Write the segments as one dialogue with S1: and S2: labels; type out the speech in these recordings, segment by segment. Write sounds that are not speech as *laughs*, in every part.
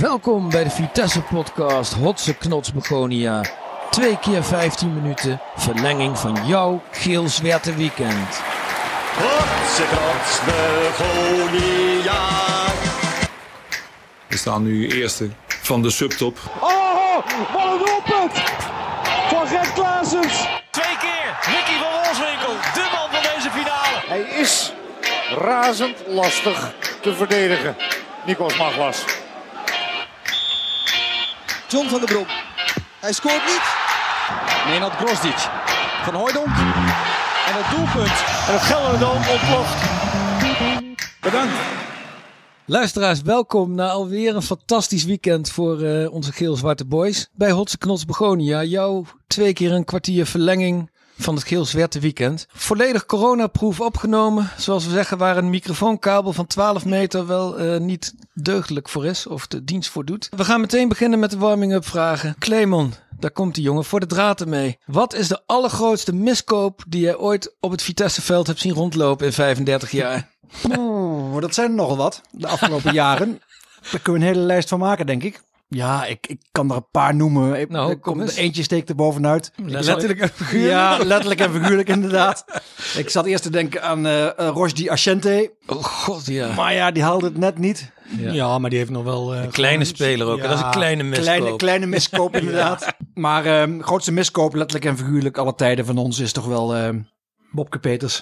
S1: Welkom bij de Vitesse Podcast Hotse Knots Begonia. Twee keer 15 minuten verlenging van jouw geel zwerte weekend.
S2: Hotse knots Begonia.
S3: We staan nu eerste van de subtop.
S4: Oh, wat een doelpunt van Gert Klaasens.
S5: Twee keer Ricky van Wolfswinkel, de man van deze finale.
S6: Hij is razend lastig te verdedigen. Nikos Maglas.
S7: John van der Brom. Hij scoort niet.
S5: Nenad Grosdic van Hooydonk. En het doelpunt. En het Gelderdoom ontploft.
S1: Luisteraars, welkom na alweer een fantastisch weekend voor eh, onze geel-zwarte boys. Bij Hotse Knots Begonia, jouw twee keer een kwartier verlenging van het geel-zwarte weekend. Volledig coronaproof opgenomen. Zoals we zeggen, waar een microfoonkabel van 12 meter wel eh, niet deugdelijk voor is of de dienst voor doet. We gaan meteen beginnen met de warming-up vragen. Clemon, daar komt die jongen voor de draten mee. Wat is de allergrootste miskoop die jij ooit op het Vitesseveld hebt zien rondlopen in 35 jaar?
S8: Oeh, Oh, dat zijn er nogal wat de
S6: *laughs*
S8: afgelopen jaren. Daar kunnen we een hele lijst van maken, denk ik. Ja, ik, ik kan er een paar noemen. Ik,
S1: Nou,
S8: ik
S1: kom
S8: kom,
S1: eens.
S8: eentje steekt er bovenuit.
S1: Letterlijk
S8: en figuurlijk. *laughs* Ja, letterlijk en figuurlijk inderdaad. Ik zat eerst te denken aan eh eh, Rosdi Ascente.
S1: Oh god, ja.
S8: Maar ja, die haalde het net niet.
S1: Ja.
S8: Ja, maar die heeft nog wel... eh,
S1: Kleine speler ook,
S8: ja,
S1: hè? dat is een kleine miskoop. *laughs*
S8: Kleine, kleine miskoop inderdaad. Maar ehm, grootste miskoop, letterlijk en figuurlijk, alle tijden van ons is toch wel ehm, Bobke
S1: *laughs*
S8: Peters.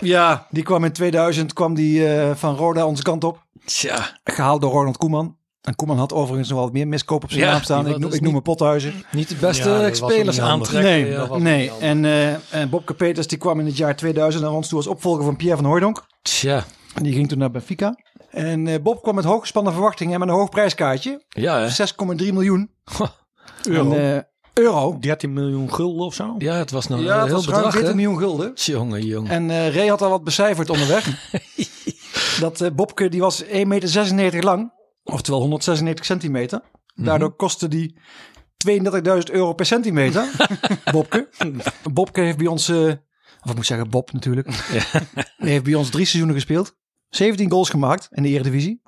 S8: ja. die kwam in 2000 kwam die, eh, van Roda onze kant op.
S1: Tja,
S8: Gehaald door Ronald Koeman. En Koeman had overigens nog wat meer miskoop op zijn
S1: Ja,
S8: naam staan.
S1: die
S8: Ik,
S1: was
S8: noem- ik
S1: dus
S8: noem hem Pothuizen.
S1: niet de beste
S8: Ja, dat was
S1: spelers
S8: niet handig.
S1: aantrekken.
S8: Nee,
S1: ja.
S8: nee. En, eh, en Bobke Peters die kwam in het jaar 2000 naar ons toe als opvolger van Pierre van Hooijdonk.
S1: Tja,
S8: En die ging toen naar Benfica. En eh, Bob kwam met hooggespannen verwachtingen en met een hoog prijskaartje.
S1: ja hè?
S8: 6,3 *laughs* miljoen.
S9: Euro.
S8: En, eh, euro.
S9: 13 miljoen gulden of zo.
S1: Ja, het was nog
S8: Ja,
S1: een
S8: dat
S1: heel
S8: was ruim
S1: bedrag,
S8: 14
S1: hè?
S8: miljoen gulden.
S1: Jongen, jongen.
S8: En eh, Ray had al wat becijferd onderweg. dat eh, Bobke, die was 1,96 meter lang. Oftewel 196 centimeter. Daardoor kostte die 32.000 euro per centimeter. Bobke. Bobke heeft bij ons... eh, of ik moet zeggen Bob natuurlijk. *laughs* Die heeft bij ons drie seizoenen gespeeld. 17 goals gemaakt in de Eredivisie.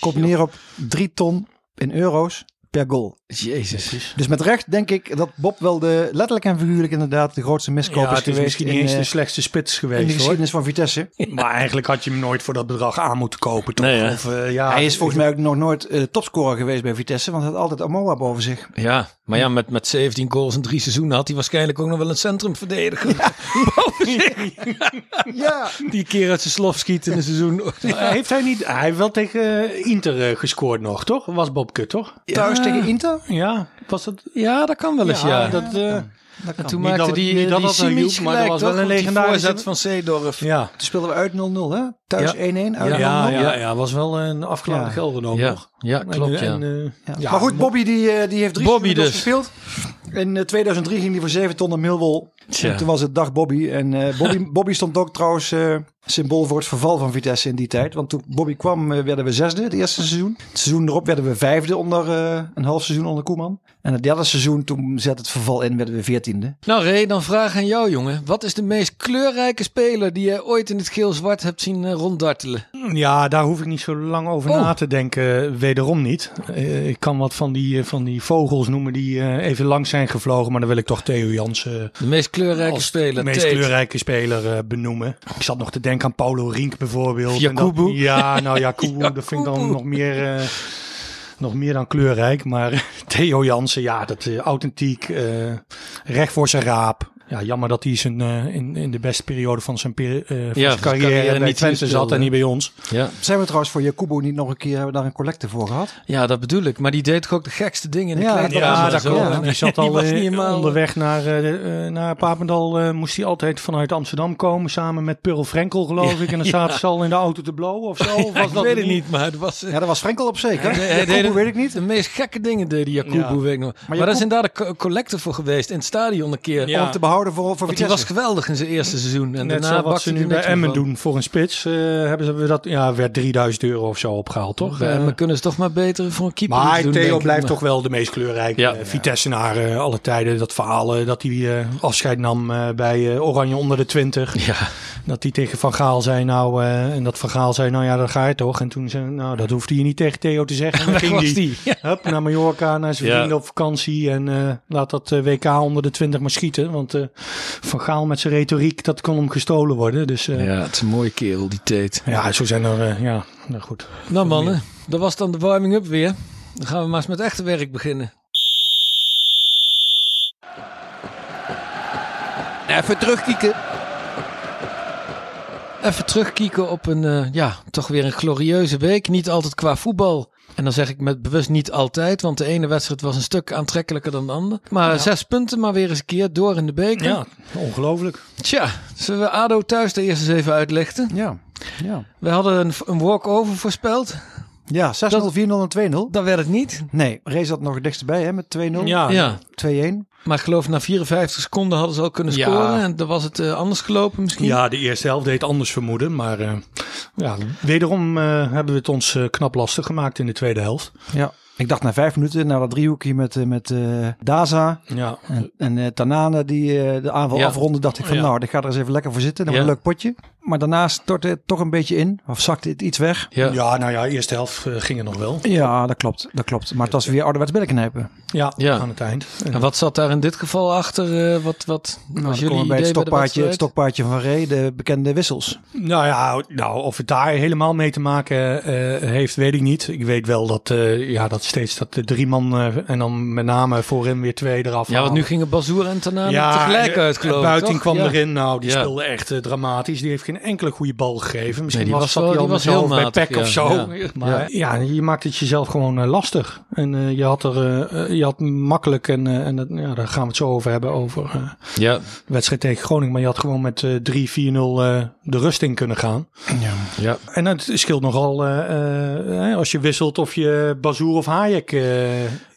S8: Komt neer op 3 ton in euro's per goal.
S1: Jezus.
S8: Dus met recht denk ik dat Bob wel de letterlijk en figuurlijk inderdaad de grootste miskoop is
S9: het is
S8: geweest.
S9: misschien niet
S8: in,
S9: eens
S8: eh,
S9: de slechtste spits
S8: in de
S9: geweest hoor.
S8: geschiedenis van Vitesse.
S9: Maar eigenlijk had je hem nooit voor dat bedrag aan moeten kopen toch?
S1: Nee, hè?
S9: of, eh, ja,
S8: Hij is volgens mij ook nog nooit eh, topscorer geweest bij Vitesse, want hij had altijd Amoa boven zich.
S1: Ja, maar ja, met, met 17 goals in drie seizoenen had hij waarschijnlijk ook nog wel een centrumverdediger. Boven zich.
S8: Ja,
S1: Die keer uit zijn slof schiet in een seizoen.
S9: Eh, Heeft hij niet... Hij heeft wel tegen eh, Inter eh, gescoord nog, toch? Was Bobke, toch?
S8: thuis tegen Inter.
S9: Ja, was dat...
S1: Ja, dat kan wel eens, ja.
S9: dat... eh,
S1: en toen
S9: Niet
S1: maakte
S9: dat-
S1: die,
S9: niet
S1: die,
S9: dat
S1: die
S9: dat nou
S1: Simic
S9: hielp, maar dat
S1: gelijk,
S9: was wel
S1: toch?
S9: een
S1: Met die
S9: legendarische-
S1: voorzet van Seedorf.
S9: ja.
S8: Toen speelden we uit 0-0, hè? Thuis
S1: Ja.
S8: 1-1, uit 0-0.
S9: Ja,
S8: Ja.
S9: ja, ja, was wel een afgeladen
S8: Ja.
S9: gelder nog.
S1: Ja,
S9: nog.
S1: ja, klopt,
S9: En,
S1: ja.
S9: eh, ja.
S8: maar goed, Bobby die, eh, die heeft drie
S1: Bobby
S8: seizoenen
S1: dus.
S8: gespeeld. In eh, 2003 ging hij voor 7 ton naar Millwall.
S1: Tja.
S8: En toen was het dag Bobby. En eh,
S1: *laughs*
S8: Bobby, Bobby stond ook trouwens eh, symbool voor het verval van Vitesse in die tijd. Want toen Bobby kwam eh, werden we zesde het eerste seizoen. Het seizoen erop werden we vijfde onder eh, een half seizoen onder Koeman. En het derde seizoen, toen zette het verval in, werden we veertiende.
S1: Nou Ray, dan vraag aan jou jongen. Wat is de meest kleurrijke speler die jij ooit in het geel-zwart hebt zien eh, ronddartelen?
S9: Ja, daar hoef ik niet zo lang over
S1: Oh.
S9: na te denken. Wederom niet. Eh, ik kan wat van die, eh, van die vogels noemen die eh, even lang zijn gevlogen. Maar dan wil ik toch Theo Jansen
S1: De meest kleurrijke
S9: als
S1: speler.
S9: de meest
S1: Tate.
S9: kleurrijke speler eh, benoemen. Ik zat nog te denken aan Paulo Rink bijvoorbeeld. En dat-
S1: Jakubu. *laughs*
S9: ja, nou Jakubu, dat vind ik dan
S1: Jakubu.
S9: nog meer, eh, nog meer dan kleurrijk. Maar *laughs* Theo Jansen, ja, dat is authentiek. eh, recht voor zijn raap. Ja, jammer dat hij zijn, eh, in, in de beste periode van zijn, peri- eh, van zijn
S1: zijn
S9: carrière,
S1: carrière
S9: bij
S1: niet
S9: Twente
S1: speelde,
S9: zat en
S1: hè?
S9: niet bij ons.
S1: Ja.
S8: Zijn we trouwens voor Jacobo niet nog een keer, hebben we daar een collecte voor gehad?
S1: ja, dat bedoel ik. Maar die deed toch ook de gekste dingen in de
S8: Ja,
S1: kleedkamer.
S9: Ja,
S8: allemaal
S9: dat
S1: en zo?
S9: klopt.
S8: Ja.
S9: Die
S1: *laughs*
S9: zat
S1: Die
S9: al
S1: was
S9: eh,
S1: niet helemaal-
S9: onderweg naar, eh, eh, naar Papendal. eh, moest hij altijd vanuit Amsterdam komen. Samen met Pearl Frenkel, geloof ik. En dan zaten ze al in de auto te blowen of zo. Of
S1: *laughs*
S9: was
S1: Ik
S9: dat
S1: weet
S9: er
S1: het niet, maar het was... eh,
S8: Ja, daar was Frenkel op zeker.
S1: hij deed
S8: *laughs* Jacobo
S1: het-
S8: weet ik niet.
S1: De meest gekke dingen deed die Jacobo,
S9: Ja.
S1: weet ik nog. Maar, dat
S8: Jacob-
S1: is inderdaad een co- collecte voor geweest in het stadion een keer.
S9: Ja.
S8: Om te behouden behouden voor, voor
S1: Want die was
S8: Vitesse.
S1: geweldig in zijn eerste seizoen. En
S9: Net
S1: daarna
S9: zo wat
S1: bakte
S9: ze
S1: hij
S9: nu bij
S1: niks meer
S9: Emmen
S1: van.
S9: doen voor een spits. eh, hebben ze we dat, ja, werd 3000 euro of zo opgehaald, toch?
S1: Bij
S9: Eh,
S1: Emmen kunnen ze toch maar beter voor een keeper iets
S9: maar
S1: doen,
S9: Theo
S1: denk ik.
S9: blijft
S1: Maar-
S9: toch wel de meest kleurrijke
S10: Ja.
S9: eh, Vitesse-naar eh, alle tijden. Dat verhaal eh, dat hij eh, afscheid nam eh, bij eh, Oranje onder de 20.
S10: Ja.
S9: Dat hij tegen Van Gaal zei, nou, eh, en dat Van Gaal zei, nou ja, dan ga je toch. En toen zei nou, dat hoeft hij niet tegen Theo te
S1: *laughs*
S9: zeggen. En dan ging
S1: was
S9: hij
S1: die. Ja.
S9: hup, naar Mallorca, naar zijn
S10: Ja.
S9: vrienden op vakantie. En eh, laat dat eh, WK onder de 20 maar schieten. Want eh, Van Gaal met zijn retoriek, dat kon hem gestolen worden. Dus eh, ja.
S1: Ja, het is een mooie kerel, die Tate.
S9: zo zijn er, eh, ja, nou goed.
S1: Nou mannen, dat was dan de warming-up weer. Dan gaan we maar eens met echte werk beginnen.
S7: Even terugkieken.
S1: Even terugkieken op een, eh, ja, toch weer een glorieuze week. Niet altijd qua voetbal. En dan zeg ik met bewust niet altijd, want de ene wedstrijd was een stuk aantrekkelijker dan de andere. Maar zes punten, maar weer eens een keer door in de beker.
S9: Ja, ongelooflijk.
S1: Tja, zullen we ADO thuis de eerst eens even uitlichten?
S8: Ja, ja.
S1: We hadden een, een walk-over voorspeld.
S8: ja 6-0, 4-0 en 2-0.
S1: Dat werd het niet.
S8: Nee, Rees had nog het dichtst bij hè, met 2-0,
S9: Ja,
S1: Ja,
S8: 2-1.
S1: maar ik geloof na 54 seconden hadden ze al kunnen
S9: Ja.
S1: scoren. En dan was het eh, anders gelopen misschien.
S9: Ja, de eerste helft deed anders vermoeden. Maar eh, ja, wederom eh, hebben we het ons eh, knap lastig gemaakt in de tweede helft.
S8: Ja. Ik dacht na vijf minuten, na dat driehoekje met, eh, met eh, Daza
S9: Ja,
S8: en, en eh, Tanane die eh, de aanval
S9: Ja.
S8: afronden, dacht ik van
S9: Ja.
S8: nou, ik ga er eens even lekker voor zitten. Dan wordt een leuk potje. Maar daarna stortte het toch een beetje in, of zakte het iets weg.
S9: ja. nou ja, eerste helft eh, ging het nog wel.
S8: Ja, dat klopt, dat klopt. Maar het was weer ouderwets bellenknijpen.
S9: Ja,
S1: Ja.
S9: aan het eind. En-
S1: En wat zat daar in dit geval achter? eh, wat, wat
S8: Nou,
S1: was
S8: dan
S1: jullie
S8: komen we
S1: idee
S8: bij het
S1: bij de
S8: stokpaardje, het
S1: wedstrijd?
S8: stokpaardje van Ree, de bekende wissels.
S9: Nou ja, nou, of het daar helemaal mee te maken eh, heeft, weet ik niet. Ik weet wel dat, eh, ja, dat steeds dat de drie man eh, en dan met name voorin weer twee eraf
S1: Ja, want nu
S9: halen.
S1: gingen Bazoer en Tanane
S9: en
S1: tegelijk
S8: eh,
S9: de-
S1: uit,
S9: en
S1: geloof ik,
S9: Buiting
S1: toch?
S9: kwam
S1: Ja.
S9: erin. Nou, die
S1: Ja.
S9: speelde echt eh, dramatisch. Die heeft geen enkele goede bal gegeven. Misschien
S1: Nee, die
S9: was,
S1: was
S9: zat
S1: wel-
S9: hij al
S1: die
S9: met
S1: was
S9: zijn
S1: heel
S9: hoofd bij
S1: matig,
S9: pek of
S1: ja.
S9: zo.
S1: Ja.
S9: *laughs* Maar ja. je maakt het jezelf gewoon eh, lastig. En eh, je had er eh, eh, je had makkelijk, en, eh, en dat- ja, daar gaan we het zo over hebben, over eh,
S10: Ja,
S9: de wedstrijd tegen Groningen. Maar je had gewoon met eh, 3-4-0 eh, de rust in kunnen gaan.
S10: ja.
S9: En het scheelt nogal eh, eh, hè, als je wisselt of je Bazoer of Hayek eh,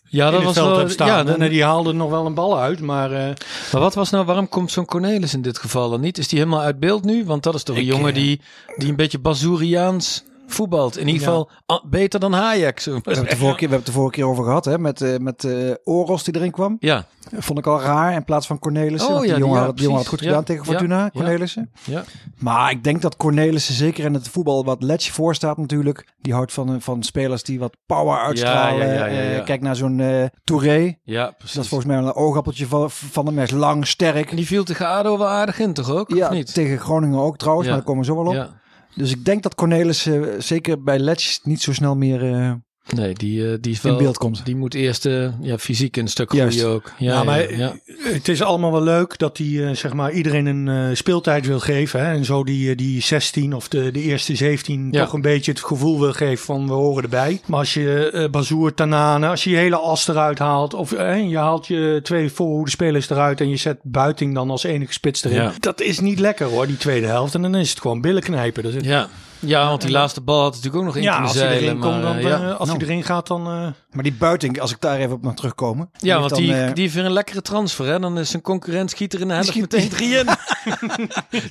S1: Ja,
S9: in
S1: dat
S9: het
S1: was
S9: veld
S1: wel,
S9: hebt staan.
S1: ja, dan-
S9: en eh, die haalde nog wel een bal uit, maar... eh,
S1: Maar wat was nou, waarom komt zo'n Cornelis in dit geval dan niet? Is die helemaal uit beeld nu? Want dat is toch een
S10: eh,
S1: jongen die, die een beetje Bazoeriaans voetbalt. In ieder
S9: Ja.
S1: geval ah, beter dan Hayek. Zo.
S8: We hebben, het de vorige keer, we hebben het de vorige keer over gehad, hè, met, eh, met eh, Oros die erin kwam.
S1: Ja,
S8: Vond ik al raar in plaats van Cornelissen.
S1: Oh,
S8: want die,
S1: ja, die-
S8: jongen,
S1: ja,
S8: had- die jongen had het goed
S1: precies.
S8: gedaan
S1: Ja,
S8: tegen
S1: ja,
S8: Fortuna,
S1: ja.
S8: Cornelissen.
S1: ja.
S8: Maar ik denk dat Cornelissen, zeker in het voetbal wat Letje voor staat natuurlijk, die houdt van, eh, van spelers die wat power uitstralen.
S10: ja, ja, ja, ja.
S8: Eh, kijk naar zo'n eh Touré.
S10: ja
S8: Dat is
S10: precies.
S8: volgens mij een oogappeltje van, van hem. Hij is lang, sterk.
S1: En die viel tegen ADO wel aardig in toch ook?
S8: Ja,
S1: of niet?
S8: tegen Groningen ook trouwens,
S1: Ja.
S8: maar daar komen we zo wel op.
S1: Ja.
S8: Dus ik denk dat Cornelissen eh, zeker bij Letje niet zo snel meer eh,
S1: Nee, die, eh, die is wel...
S8: in beeld komt.
S1: Die moet eerst eh, ja, fysiek een stuk
S8: Juist. Nou,
S1: groeien ook. Ja,
S9: Ja, maar
S1: ja, ja.
S9: het is allemaal wel leuk dat hij eh, zeg maar iedereen een eh, speeltijd wil geven. Hè? En zo die, eh, die 16 of de, de eerste 17
S1: Ja.
S9: toch een beetje het gevoel wil geven van we horen erbij. Maar als je eh Bazoer, Tanane, als je je hele as eruit haalt. Of eh, je haalt je twee voorhoede spelers eruit en je zet Buiting dan als enige spits erin.
S10: Ja.
S9: Dat is niet lekker hoor, die tweede helft. En dan is het gewoon billen knijpen. Dus, ja,
S1: Ja. ja, want die laatste bal had natuurlijk ook nog in kunnen
S9: als hij
S1: zeilen.
S9: erin
S1: maar,
S9: komt, dan,
S1: eh,
S9: eh,
S1: ja.
S9: als hij erin gaat dan... eh,
S8: Maar die buiting, als ik daar even op mag terugkomen.
S1: Ja, want die,
S8: heeft dan, eh,
S1: die heeft weer een lekkere transfer. Hè? Dan is zijn concurrent schiet er in de helft
S8: schiet-
S1: meteen drie
S8: *laughs*
S1: in.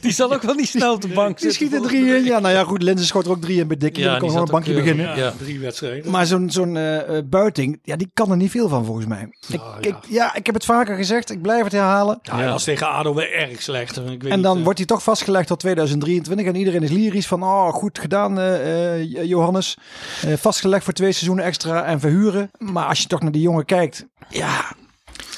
S1: die zal ook wel niet snel op de bank
S8: die
S1: zitten.
S8: schiet er drie in. Ja, nou ja, goed. Linzen schoot er ook drie in bij Dikkie.
S1: Ja,
S8: dan kon
S1: die
S8: gewoon een
S1: zat
S8: bankje
S1: ook, eh,
S8: beginnen.
S1: Ja.
S9: drie wedstrijden.
S8: Maar zo'n zo'n eh, eh, buiting, ja, die kan er niet veel van volgens mij. Ik,
S9: ja.
S8: Ik, ja, ik heb het vaker gezegd. Ik blijf het herhalen.
S9: Ja, Hij was tegen ADO weer erg slecht. Ik weet
S8: En
S9: niet,
S8: dan
S9: eh,
S8: wordt hij toch vastgelegd tot 2023. En iedereen is lyrisch van, oh, goed gedaan, eh, eh, Johannes. Eh, vastgelegd voor twee seizoenen extra en verhuren. Maar als je toch naar die jongen kijkt, ja,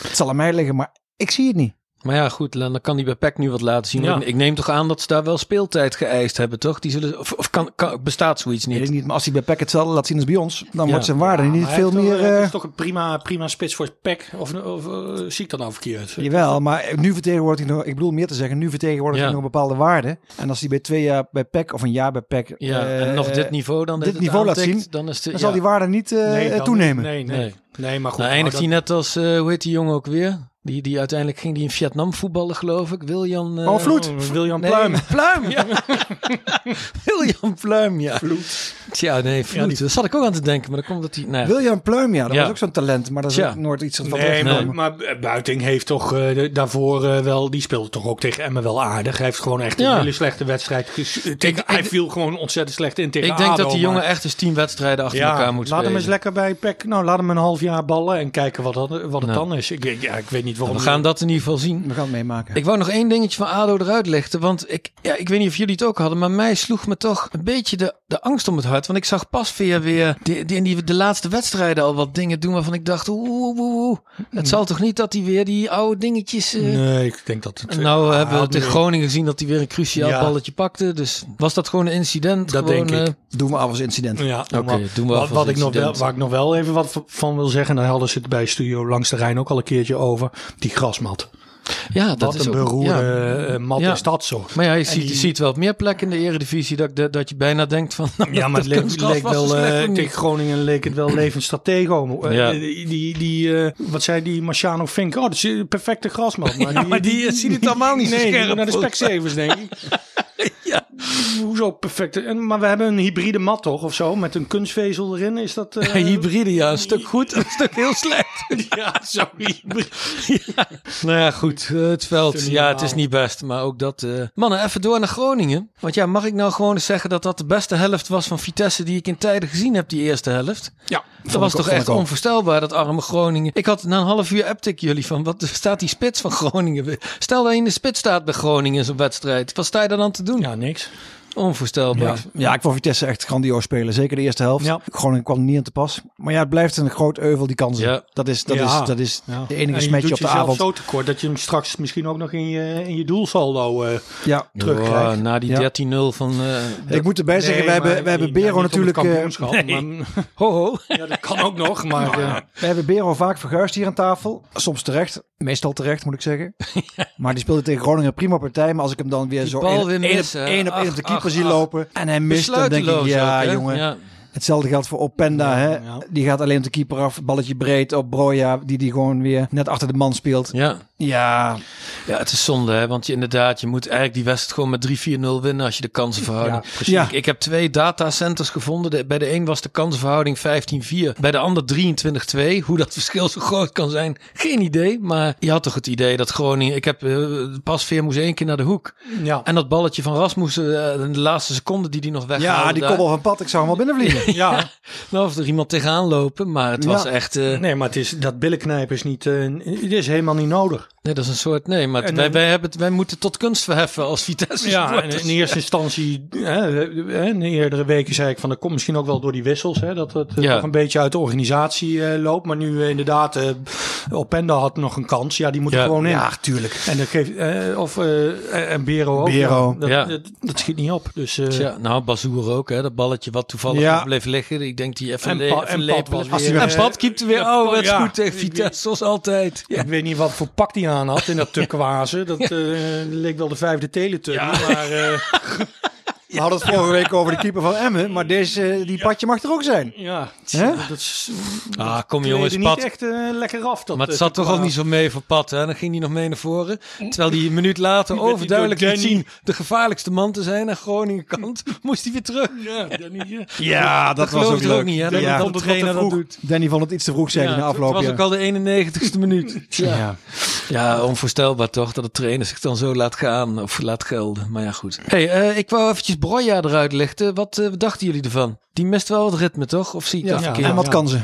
S8: het zal aan mij liggen. Maar ik zie het niet.
S1: Maar ja, goed, dan kan die bij PEC nu wat laten zien.
S9: Ja.
S1: Ik- Ik neem toch aan dat ze daar wel speeltijd geëist hebben, toch? Die zullen, of of kan, kan, bestaat zoiets
S8: Weet
S1: niet?
S8: ik niet, maar als hij bij Pack hetzelfde laat zien als bij ons, dan
S1: Ja.
S8: wordt zijn waarde niet
S9: Maar hij
S8: veel
S9: heeft wel-
S8: meer...
S9: Het
S8: eh,
S9: is toch een prima, prima spits voor het pack. Of, of eh, zie ik dat nou verkeerd?
S8: Jawel, maar nu vertegenwoordigt hij nog, ik bedoel meer te zeggen, nu vertegenwoordigt
S1: Ja.
S8: hij nog een bepaalde waarde. En als hij bij twee jaar bij PEC of een jaar bij PEC,
S1: Ja,
S8: eh,
S1: en nog
S8: eh,
S1: dit niveau dan.
S8: dit
S1: het
S8: niveau laat
S1: aantikt,
S8: zien,
S1: Dan, is de,
S8: dan
S1: ja.
S8: zal die waarde niet eh,
S9: dan-
S8: toenemen.
S9: Nee, nee,
S1: Nee.
S9: nee. maar goed. Ah,
S1: Nou, eindigt
S9: maar
S1: hij net als, eh, hoe heet die jongen ook weer? Die, die uiteindelijk ging die in Vietnam voetballen, geloof ik. Wiljan... eh,
S9: oh,
S1: *laughs*
S9: vloed. William
S1: Nee,
S8: *laughs*
S9: Pluim.
S1: Pluim, ja. Wiljan Pluim, ja.
S9: Vloed.
S1: Tja, nee, Vloed. Dat zat ik ook aan te denken, maar dan komt dat hij... Nou, ja.
S8: William Pluim, ja, dat
S1: Ja.
S8: was ook zo'n talent, maar dat is
S1: Tja.
S8: ook nooit iets van
S9: Nee,
S8: terechtgekomen.
S9: maar, maar Buiting heeft toch eh, de- daarvoor eh, wel... Die speelde toch ook tegen Emmen wel aardig. Hij heeft gewoon echt een
S1: Ja.
S9: hele slechte wedstrijd. ges- eh, tegen- hij viel gewoon ontzettend slecht in tegen
S1: ik denk dat
S9: ADO,
S1: die jongen
S9: maar-
S1: echt eens tien wedstrijden achter elkaar moet
S9: laat hem eens
S1: spelen.
S9: lekker bij PEC. Nou, laat hem een half jaar ballen en kijken wat, dat, wat het
S1: Nou.
S9: dan is. Ik, ik- ja, ik weet niet waarom.
S1: We gaan dat in ieder geval zien.
S8: We gaan het meemaken.
S1: Ik wou nog één dingetje van ADO eruit lichten. Want ik, ja, ik weet niet of jullie het ook hadden. Maar mij sloeg me toch een beetje de, de angst om het hart. Want ik zag pas weer, weer die, die, in die, de laatste wedstrijden al wat dingen doen. Waarvan ik dacht, oeh, oeh, oeh, oeh. Het zal toch niet dat hij weer die oude dingetjes... eh,
S9: Nee, ik denk dat het...
S1: En nou
S9: Ah,
S1: hebben we
S9: had
S1: tegen
S9: nu-
S1: Groningen gezien dat hij weer een cruciaal
S9: Ja.
S1: balletje pakte. Dus was dat gewoon een incident?
S9: Dat
S1: Gewoon,
S9: denk ik.
S1: eh,
S8: Doen we af als incident.
S9: Ja,
S1: Oké,
S9: maar
S1: doen we
S9: wat,
S1: alvast
S9: wat ik nog wel,
S1: incident.
S9: Waar ik nog wel even wat v- van wil zeggen. Daar hadden ze het bij Studio Langs de Rijn ook al een keertje over. Die grasmat.
S1: ja, dat
S9: wat
S1: is
S9: een
S1: ook-
S9: beroerde
S1: ja.
S9: eh, mat
S1: Ja.
S9: is dat zo.
S1: Maar ja, je
S9: En
S1: ziet, je
S9: die-
S1: ziet wel op meer plekken in de eredivisie dat, ik de- dat je bijna denkt van... *laughs* nou,
S9: Ja, maar het
S1: dat
S9: leek,
S1: kunstgras
S9: leek
S1: was
S9: wel,
S1: zo slecht
S9: eh,
S1: nog niet.
S9: tegen Groningen leek het
S1: *clears throat*
S9: wel levend stratego. Eh,
S1: Ja.
S9: eh, Die, die eh, wat zei die Marciano Fink? Oh, dat is een perfecte grasmat.
S1: *laughs*
S9: Maar,
S1: Ja, maar die, eh, ziet het allemaal niet zo
S9: nee, die
S1: scherp,
S9: moet naar de
S1: volgens
S9: *laughs* Specsavers, denk
S1: *laughs*
S9: ik. Hoezo perfecte? En, maar we hebben een hybride mat toch, of zo? Met een kunstvezel erin, is dat... eh,
S1: hybride, ja. Een stuk goed, een stuk heel slecht.
S9: *laughs* ja, zo hybride.
S1: Nou *laughs* ja, goed. eh, het veld.
S9: Het is niet
S1: Ja, het is
S9: normaal.
S1: niet best. Maar ook dat... eh, Mannen, even door naar Groningen. Want ja, mag ik nou gewoon eens zeggen dat dat de beste helft was van Vitesse die ik in tijden gezien heb, die eerste helft?
S9: Ja,
S1: Dat was toch echt onvoorstelbaar, dat arme Groningen. Ik had na een half uur appte ik jullie van, wat staat die spits van Groningen? weer? Stel dat je in de spits staat bij Groningen in zo'n wedstrijd. Wat sta je dan aan te doen?
S9: Ja, niks.
S1: Onvoorstelbaar.
S8: Ja, ik vond Vitesse echt grandioos spelen. Zeker de eerste helft.
S9: Ja.
S8: Groningen kwam er niet aan te pas. Maar ja, het blijft een groot euvel, die kansen.
S1: Ja.
S8: Dat is, dat
S9: Ja.
S8: is, dat is
S9: Ja.
S8: de
S9: En
S8: enige
S9: je
S8: smetje
S9: doet
S8: op de
S9: jezelf
S8: avond.
S9: zo tekort dat je hem straks misschien ook nog in je, in je doelsaldo eh
S8: Ja.
S9: terugkrijgt.
S1: Wow, na die
S8: Ja.
S1: 13-0 van... eh,
S8: Ik moet erbij zeggen, we hebben, we hebben Bero natuurlijk... eh,
S1: ho, ho.
S9: ja, dat kan ook nog, *laughs* maar... eh,
S8: we hebben Bero vaak verguisd hier aan tafel. Soms terecht. Meestal terecht, moet ik
S1: *laughs*
S8: zeggen. Maar die speelde tegen Groningen een prima partij. Maar als ik hem dan weer
S1: Die
S8: zo
S1: bal
S8: één op
S1: weer
S8: één op-
S1: missen, hè?
S8: één op één op de
S1: Ach,
S8: keeper
S1: ach,
S8: zie
S1: ach.
S8: lopen. En hij mist, dan denk ik,
S1: Besluiteloos
S8: ja
S1: ook, hè?
S8: jongen.
S1: Ja.
S8: Hetzelfde geldt voor Openda. hè?
S9: ja.
S8: Die gaat alleen op de keeper af. Balletje breed op Broja. Die die gewoon weer net achter de man speelt.
S1: Ja.
S8: Ja,
S1: Ja, het is zonde, hè? want je, inderdaad, je moet eigenlijk die wedstrijd gewoon met 3-4-0 winnen als je de kansenverhouding...
S9: Ja,
S8: precies.
S1: Ik, ik heb twee datacenters gevonden. De- bij de een was de kansenverhouding 15-4, bij de ander 23-2. Hoe dat verschil zo groot kan zijn, geen idee. Maar je had toch het idee dat Groningen... Ik heb eh, pas Veer moest één keer naar de hoek.
S9: ja.
S1: En dat balletje van Rasmussen, eh, in de laatste seconde die die nog weghaalde...
S8: ja die
S1: daar-
S8: kobbel van pad. Ik zou hem wel binnenvliegen.
S9: ja,
S1: Nou, of er iemand tegenaan lopen, maar het was
S8: Ja.
S1: echt... eh,
S9: nee, maar het is, dat billenknijpen is niet, eh, het is helemaal niet nodig.
S1: nee, dat is een soort... Nee, maar het-
S9: En
S1: wij,
S9: dan-
S1: wij, hebben het, wij moeten tot kunst verheffen als Vitesse
S9: Ja, en
S1: supporters.
S9: in eerste instantie, hè, eh, in de eerdere weken zei ik van, dat komt misschien ook wel door die wissels, hè, dat het eh,
S1: Ja.
S9: toch een beetje uit de organisatie eh, loopt. Maar nu eh, inderdaad, eh, Openda had nog een kans, ja, die moet er
S1: Ja.
S9: gewoon in.
S8: tuurlijk.
S9: En dat geeft, eh, of, eh, en Bero ook.
S8: Bero.
S9: Ja, dat,
S1: Ja.
S9: Dat, dat schiet niet op. Dus, eh,
S1: Ja, nou, Bazoer ook, hè. Dat balletje wat toevallig
S9: Ja.
S1: nog bleef liggen. Ik denk die even,
S9: En
S1: le-
S9: Pa-
S1: even
S9: en Pat
S1: lepelen.
S9: was weer,
S1: en
S9: eh,
S1: Pat keept er weer.
S9: ja,
S1: Oh, dat is
S9: ja.
S1: goed tegen Vitesse, zoals altijd. Ja.
S9: Ik weet niet wat voor pak die aan had in
S1: *laughs*
S9: dat tukkenwazen. Dat eh, leek wel de vijfde teletuk. Maar eh,
S8: We hadden het vorige week over de keeper van Emmen. Maar deze, eh, die padje mag er ook zijn.
S1: *laughs*
S9: ja,
S8: Hè?
S9: dat is
S1: Ah, kom
S9: kleedde
S1: jongens,
S9: niet
S1: Pat.
S9: echt eh, lekker af. Dat,
S1: Maar het
S9: eh,
S1: zat toch ook niet
S9: tukkenwaas.
S1: zo mee voor Pat, hè. Dan ging hij nog mee naar voren. Terwijl hij een minuut
S9: *laughs*
S1: later overduidelijk
S9: door
S1: liet
S9: Danny.
S1: zien de gevaarlijkste man te zijn aan Groningen kant. *laughs* Moest hij weer terug. Ja,
S8: Ja,
S1: dat geloof ik ook niet, hè. Dat,
S8: Ja.
S1: dat
S8: Vond
S1: de
S8: het wat te
S1: trainer dat
S8: vroeg.
S1: doet.
S8: Danny vond het iets te vroeg, zei hij na
S1: het
S8: afloop.
S1: was
S8: ja.
S1: ook al de 91ste minuut.
S9: *laughs*
S8: Ja.
S1: Ja, onvoorstelbaar toch dat de trainer zich dan zo laat gaan of laat gelden. Maar ja, goed. hey, eh, ik wou eventjes Broja eruit lichten. Wat eh, dachten jullie ervan? Die mist wel het ritme, toch? Of zie ik dat
S9: Ja.
S1: verkeerd?
S8: En wat kan ze?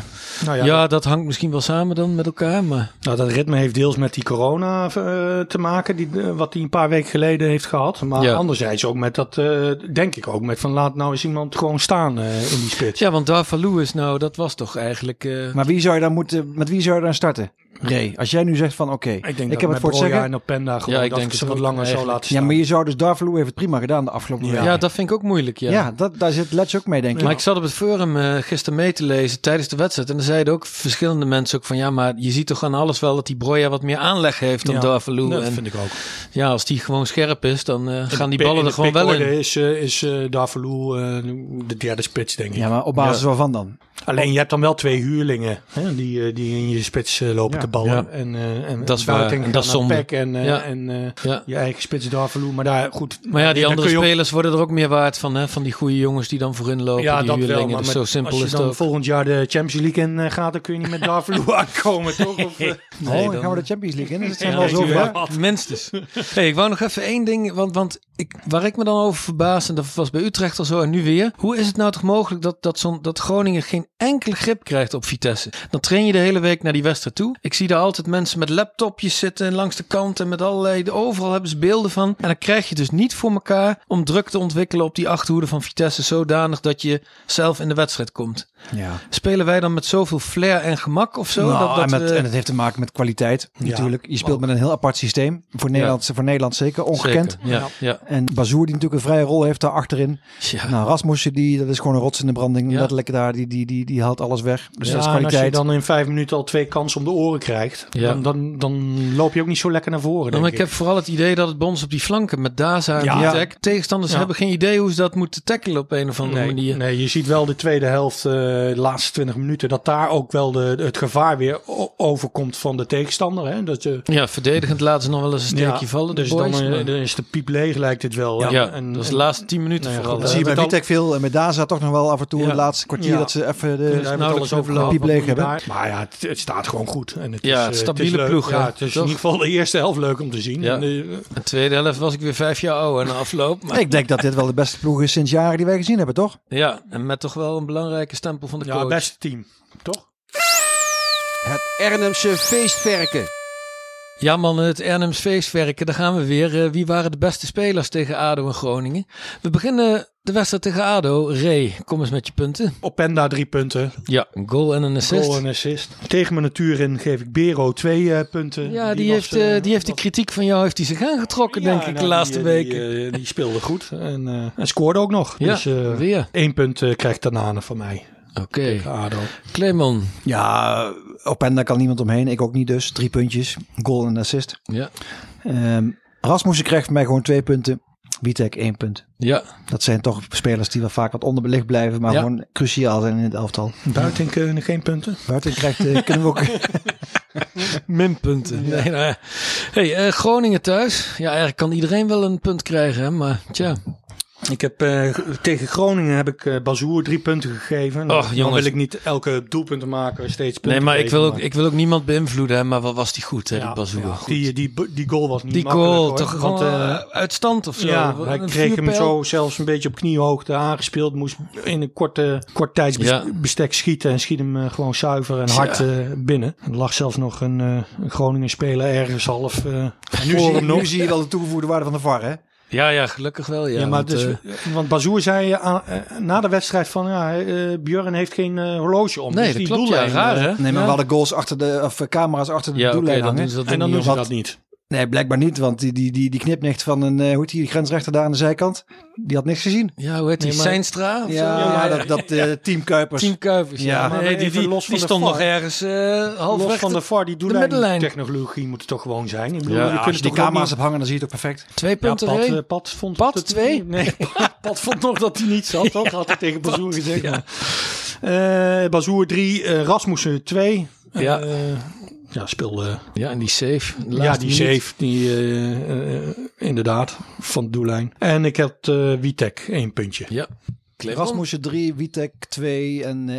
S9: Nou ja,
S1: ja, dat hangt misschien wel samen dan met elkaar, maar...
S9: Nou, dat ritme heeft deels met die corona eh, te maken, die, eh, wat hij een paar weken geleden heeft gehad. Maar
S1: Ja.
S9: anderzijds ook met dat, eh, denk ik ook, met van laat nou eens iemand gewoon staan eh, in die spits.
S1: Ja, want Darvalu is nou, dat was toch eigenlijk... eh,
S8: Maar wie zou je dan moeten, met wie zou je dan starten? Ray, als jij nu zegt van oké, ik,
S9: denk dat met
S8: heb het voor het
S9: Broja
S8: zeggen.
S9: en Openda gewoon
S1: Ja, ik
S9: dat
S1: denk
S9: ik ze
S1: het
S9: wat
S1: ook
S9: langer zo
S1: eigenlijk.
S9: laten
S8: Ja,
S9: staan.
S8: maar je zou dus Darvalu heeft het prima gedaan de afgelopen
S1: ja.
S8: week.
S1: dat vind ik ook moeilijk, ja.
S8: Ja, dat, daar zit Letch ook mee, denk ik.
S1: Maar ik zat op het forum eh, gisteren mee te lezen tijdens de wedstrijd. En er zeiden ook verschillende mensen ook van... Ja, maar je ziet toch aan alles wel dat die Broja wat meer aanleg heeft dan
S9: Ja,
S1: Darvalu.
S9: dat
S1: en
S9: vind ik ook.
S1: ja, als die gewoon scherp is, dan eh, gaan die
S9: In de
S1: ballen er gewoon wel
S9: pickorde
S1: in.
S9: is, eh, is eh Davaloe, eh, de derde spits, denk ik.
S8: ja, maar op basis waarvan dan?
S9: Alleen je hebt dan wel twee huurlingen hè, die, eh, die in je spits eh, lopen
S6: Ja.
S9: te ballen.
S1: Ja.
S9: En, eh, en
S1: Dat is waar.
S9: Boateng
S1: En
S9: gaat
S1: dat is
S9: naar
S1: zonde.
S9: PEC en, eh,
S1: Ja.
S9: en eh,
S1: Ja.
S9: je eigen spits Darvalu. Maar daar, goed.
S1: Maar ja, die
S9: dan
S1: andere
S9: kun je ook-
S1: spelers worden er ook meer waard van, hè? Van die goede jongens die dan voorin lopen,
S9: Ja,
S1: die
S9: dat wel.
S1: huurlingen.
S9: Maar
S1: Dus
S9: met-
S1: zo simpel
S9: als je
S1: is het
S9: dan
S1: ook.
S9: volgend jaar de Champions League in eh, gaat, dan kun je niet
S1: *laughs*
S9: met Darvalu aankomen, toch? Of, eh,
S1: Nee,
S8: oh, dan
S1: dan-
S8: gaan we de Champions League in. Dus het zijn
S1: Ja,
S8: wel
S1: dat
S8: zoveel.
S1: is
S9: *laughs*
S8: hè?
S1: waar. Minstens. Hey, ik wou nog even één ding, want, want ik, waar ik me dan over verbaas, en dat was bij Utrecht al zo en nu weer. Hoe is het nou toch mogelijk dat, dat, zo'n dat Groningen geen enkele grip krijgt op Vitesse? Dan train je de hele week naar die wedstrijd toe. Ik zie daar altijd mensen met laptopjes zitten langs de kant en met allerlei, overal hebben ze beelden van. En dan krijg je het dus niet voor elkaar om druk te ontwikkelen op die achterhoede van Vitesse, zodanig dat je zelf in de wedstrijd komt.
S8: Ja.
S1: Spelen wij dan met zoveel flair en gemak of zo?
S8: Nou,
S1: dat, eh, dat
S8: en, met,
S1: we-
S8: en het heeft te maken met kwaliteit natuurlijk. Je speelt met een heel apart systeem. Voor Nederland, voor Nederland zeker, ongekend.
S1: Zeker, Ja, ja.
S8: En Bazoer die natuurlijk een vrije rol heeft daar achterin.
S1: Tja.
S8: Nou, Rasmussen die, dat is gewoon een rots in de branding.
S1: Ja.
S8: Letterlijk daar, die, die, die, die haalt alles weg. Dus
S9: ja,
S8: dat is
S9: en als je
S8: kwaliteit.
S9: dan in vijf minuten al twee kansen om de oren krijgt,
S1: Ja.
S9: dan, dan, dan loop je ook niet zo lekker naar voren,
S1: Ja,
S9: denk
S1: maar ik heb vooral het idee dat het bij ons op die flanken met Daza en
S9: Ja.
S1: die tack- Tegenstanders
S9: Ja.
S1: hebben geen idee hoe ze dat moeten tackelen op een of andere
S9: Nee,
S1: manier.
S9: nee, je ziet wel de tweede helft, eh, de laatste 20 minuten, dat daar ook wel de, het gevaar weer o- overkomt van de tegenstander. Hè? Dat je,
S1: Ja, verdedigend laten ze nog wel eens een steekje vallen. de
S9: dus
S1: boys,
S9: dan, eh,
S1: maar-
S9: dan is de piep leeg, lijkt het wel.
S1: ja,
S9: En- en-
S1: dat is de
S9: en-
S1: laatste tien minuten
S9: Nou ja,
S1: vooral.
S9: goed,
S8: dat
S1: hè.
S8: zie je bij
S9: dat-
S8: Vitek veel. En met Daza toch nog wel af en toe
S9: Ja.
S8: het laatste kwartier
S9: Ja. Dus nou,
S8: dat ze even
S9: daar
S8: de...
S9: hebben we het
S1: nauwelijks
S9: alles
S1: overlopen.
S9: gehad,
S8: Piep leeg
S9: wat moet
S8: hebben.
S9: daar. Maar ja, het, het staat gewoon goed. En het
S1: Ja,
S9: is,
S1: het
S9: eh,
S1: stabiele
S9: is leuk.
S1: ploeg, hè,
S9: Ja, het
S1: toch?
S9: is in ieder geval de eerste helft leuk om te zien.
S1: Ja.
S9: En, eh,
S1: De tweede helft was ik weer vijf jaar oud en afloop. Maar
S8: Ik denk dat dit wel de beste ploeg is sinds jaren die wij gezien hebben, toch?
S1: ja, en met toch wel een belangrijke stempel van de
S9: ja,
S1: coach.
S9: beste team, toch?
S7: Het Ernemse feestverken.
S1: Ja man, het Ernems feestwerken, daar gaan we weer. Eh, wie waren de beste spelers tegen ADO en Groningen? We beginnen de wedstrijd tegen ADO. Ray, kom eens met je punten.
S9: Openda drie punten,
S1: Ja, een goal en een assist.
S9: goal en assist. Tegen mijn natuur in geef ik Bero twee eh, punten.
S1: Ja, die,
S9: was,
S1: heeft, eh,
S9: eh,
S1: die heeft de kritiek van jou heeft die zich aangetrokken, denk
S9: Ja,
S1: ik, de
S9: nou,
S1: laatste
S9: die, eh,
S1: weken.
S9: Die, eh, die speelde goed en, eh, en scoorde ook nog.
S1: ja,
S9: Dus eh,
S1: weer.
S9: één punt eh, krijgt Tanane van mij.
S1: Oké.
S9: Ado.
S1: Clemon.
S8: Ja, Openda kan niemand omheen. Ik ook niet dus. Drie puntjes. Goal en assist.
S1: Ja.
S8: Ehm, Rasmussen krijgt van mij gewoon twee punten. Witek één
S9: *laughs*
S8: punt.
S1: Ja.
S8: Dat zijn toch spelers die wel vaak wat onderbelicht blijven, maar
S1: Ja.
S8: gewoon cruciaal zijn in het elftal.
S9: Buiten eh, geen punten.
S8: Buiten krijgt, eh, kunnen we ook...
S1: Minpunten. Nee, nou ja. hey, eh, Groningen thuis. Ja, eigenlijk kan iedereen wel een punt krijgen, hè, maar tja.
S9: Ik heb, eh, g- tegen Groningen heb ik eh Bazoer drie punten gegeven. Nou,
S1: Och,
S9: Dan
S1: jongens.
S9: wil ik niet elke doelpunt maken steeds punten
S1: Nee, maar ik
S9: geven,
S1: wil ook, ik wil ook niemand beïnvloeden, hè, maar wat was die goed, hè,
S9: Ja,
S1: die Bazoer.
S9: ja,
S1: Goed.
S9: die, eh, die, die goal was niet
S1: Die
S9: makkelijk,
S1: goal,
S9: hoor.
S1: toch
S9: Want,
S1: gewoon
S9: eh,
S1: eh, uit stand of zo.
S9: ja,
S1: Een
S9: hij kreeg hem
S1: vierpijl.
S9: zo zelfs een beetje op kniehoogte aangespeeld. Moest in een korte, kort
S1: Ja.
S9: tijdsbestek schieten. En schiet hem eh, gewoon zuiver en hard eh, binnen. Er lag zelfs nog een, eh, een Groningen speler ergens half eh
S8: nu,
S9: voor
S8: zie,
S9: hem nog.
S8: nu zie je wel de toegevoegde waarde van de VAR, hè?
S1: Ja, ja, gelukkig wel, ja.
S9: Ja, maar
S1: want,
S9: dus,
S1: eh,
S9: want Bazoer zei eh, aan- eh, na de wedstrijd van ja, eh, Björn heeft geen eh, horloge om.
S1: nee,
S9: Dus
S1: dat
S9: die
S1: klopt, ja.
S9: doellijn,
S1: Raar,
S9: eh,
S1: hè?
S8: Nee, maar
S1: ja.
S8: we hadden goals achter de... of eh, camera's achter de
S1: Ja, oké,
S8: doellijn
S1: dan
S8: hangen.
S1: doen ze dat
S9: En dan
S1: niet,
S9: doen
S1: hoor.
S9: ze
S8: Wat-
S9: dat niet.
S8: Nee, blijkbaar niet, want die, die, die, die knipnecht van een... eh, hoe heet die, die grensrechter daar aan de zijkant? Die had niks gezien.
S1: Ja, hoe heet die?
S9: Nee, maar-
S1: Seinstra? of zo?
S8: Ja, dat, dat eh, team Kuipers.
S1: Team Kuipers. Ja,
S8: Ja,
S1: Nee,
S9: maar
S1: die,
S9: even
S1: die,
S9: los van
S1: die
S9: de
S1: stond
S9: VAR.
S1: nog ergens eh half
S9: Los
S1: weg
S9: van
S1: te-
S9: de VAR, die
S1: middellijn.
S9: doellijntechnologie moet het toch gewoon zijn. Ik bedoel,
S1: Ja,
S9: je kunt
S8: Als je
S9: toch
S8: die
S9: ook
S8: camera's
S9: niet-
S8: hebt hangen, dan zie je het ook perfect.
S1: Twee punten
S9: ja, Pat,
S1: erin.
S9: eh, Pat vond
S1: Pat
S9: dat-
S1: twee?
S9: *laughs* Nee,
S1: *laughs*
S9: Pat vond nog dat hij niet zat. Dat had hij tegen Bazoer gezegd. maar. Eh, Bazoer 3, Rasmussen 2.
S1: Ja.
S9: ja, speelde.
S1: Ja, en die safe. de
S9: ja,
S1: laatste
S9: die
S1: minuut.
S9: safe, die eh, eh, inderdaad, van de doellijn. En ik had eh Witek, één puntje.
S1: Ja. Clement.
S8: Rasmussen 3, Witek 2 en eh,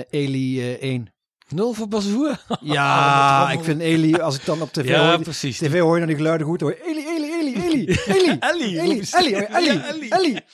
S1: *laughs*
S8: Eli 1.
S1: Nul voor Bazoer.
S8: Ja, ik vind Eli, als ik dan op tv hoor,
S1: precies.
S8: tv hoor je naar die geluiden goed hoor. Eli, Eli, Eli, *laughs* Eli, Eli,
S1: Ellie,
S8: Eli,
S1: roepen ze.
S8: Eli, hoor je, Eli,
S1: Ja,
S8: Eli,
S1: Ellie.
S8: *laughs*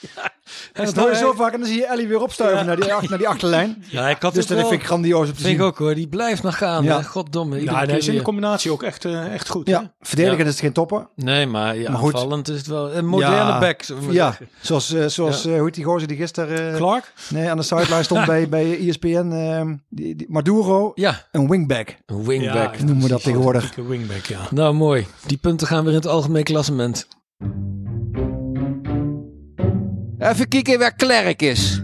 S8: En dat hoor je zo vaak en dan zie je Ellie weer opstuiven naar, die, ach- naar die achterlijn.
S1: Ja, ik had
S8: Dus
S1: dus
S8: *laughs* dat
S1: wel,
S8: vind ik grandioos op te
S1: vind ik
S8: zien.
S1: ook hoor. Die blijft nog gaan.
S8: Ja.
S1: hè. Goddomme. iedere
S9: Ja,
S1: keer
S9: hij is in de
S1: weer.
S9: combinatie ook echt, eh, echt goed. hè?
S8: Ja, verdedigend is het geen topper.
S1: Nee, maar, ja,
S8: Maar goed.
S1: aanvallend is het wel. Een moderne
S8: Ja.
S1: back, zullen we maar
S8: Ja,
S1: zeggen.
S8: zoals, eh, zoals eh, hoe heet die gozer die gisteren eh,
S9: Clark?
S8: nee, aan de sideline *laughs* stond bij, bij ESPN. ehm, die, die, Maduro,
S1: Ja,
S8: een wingback
S1: een wingback.
S9: Ja,
S8: noemen we dat tegenwoordig.
S9: Dikke wingback, ja.
S1: Nou, mooi. Die punten gaan weer in het algemeen klassement.
S7: Even kijken waar Klerk is.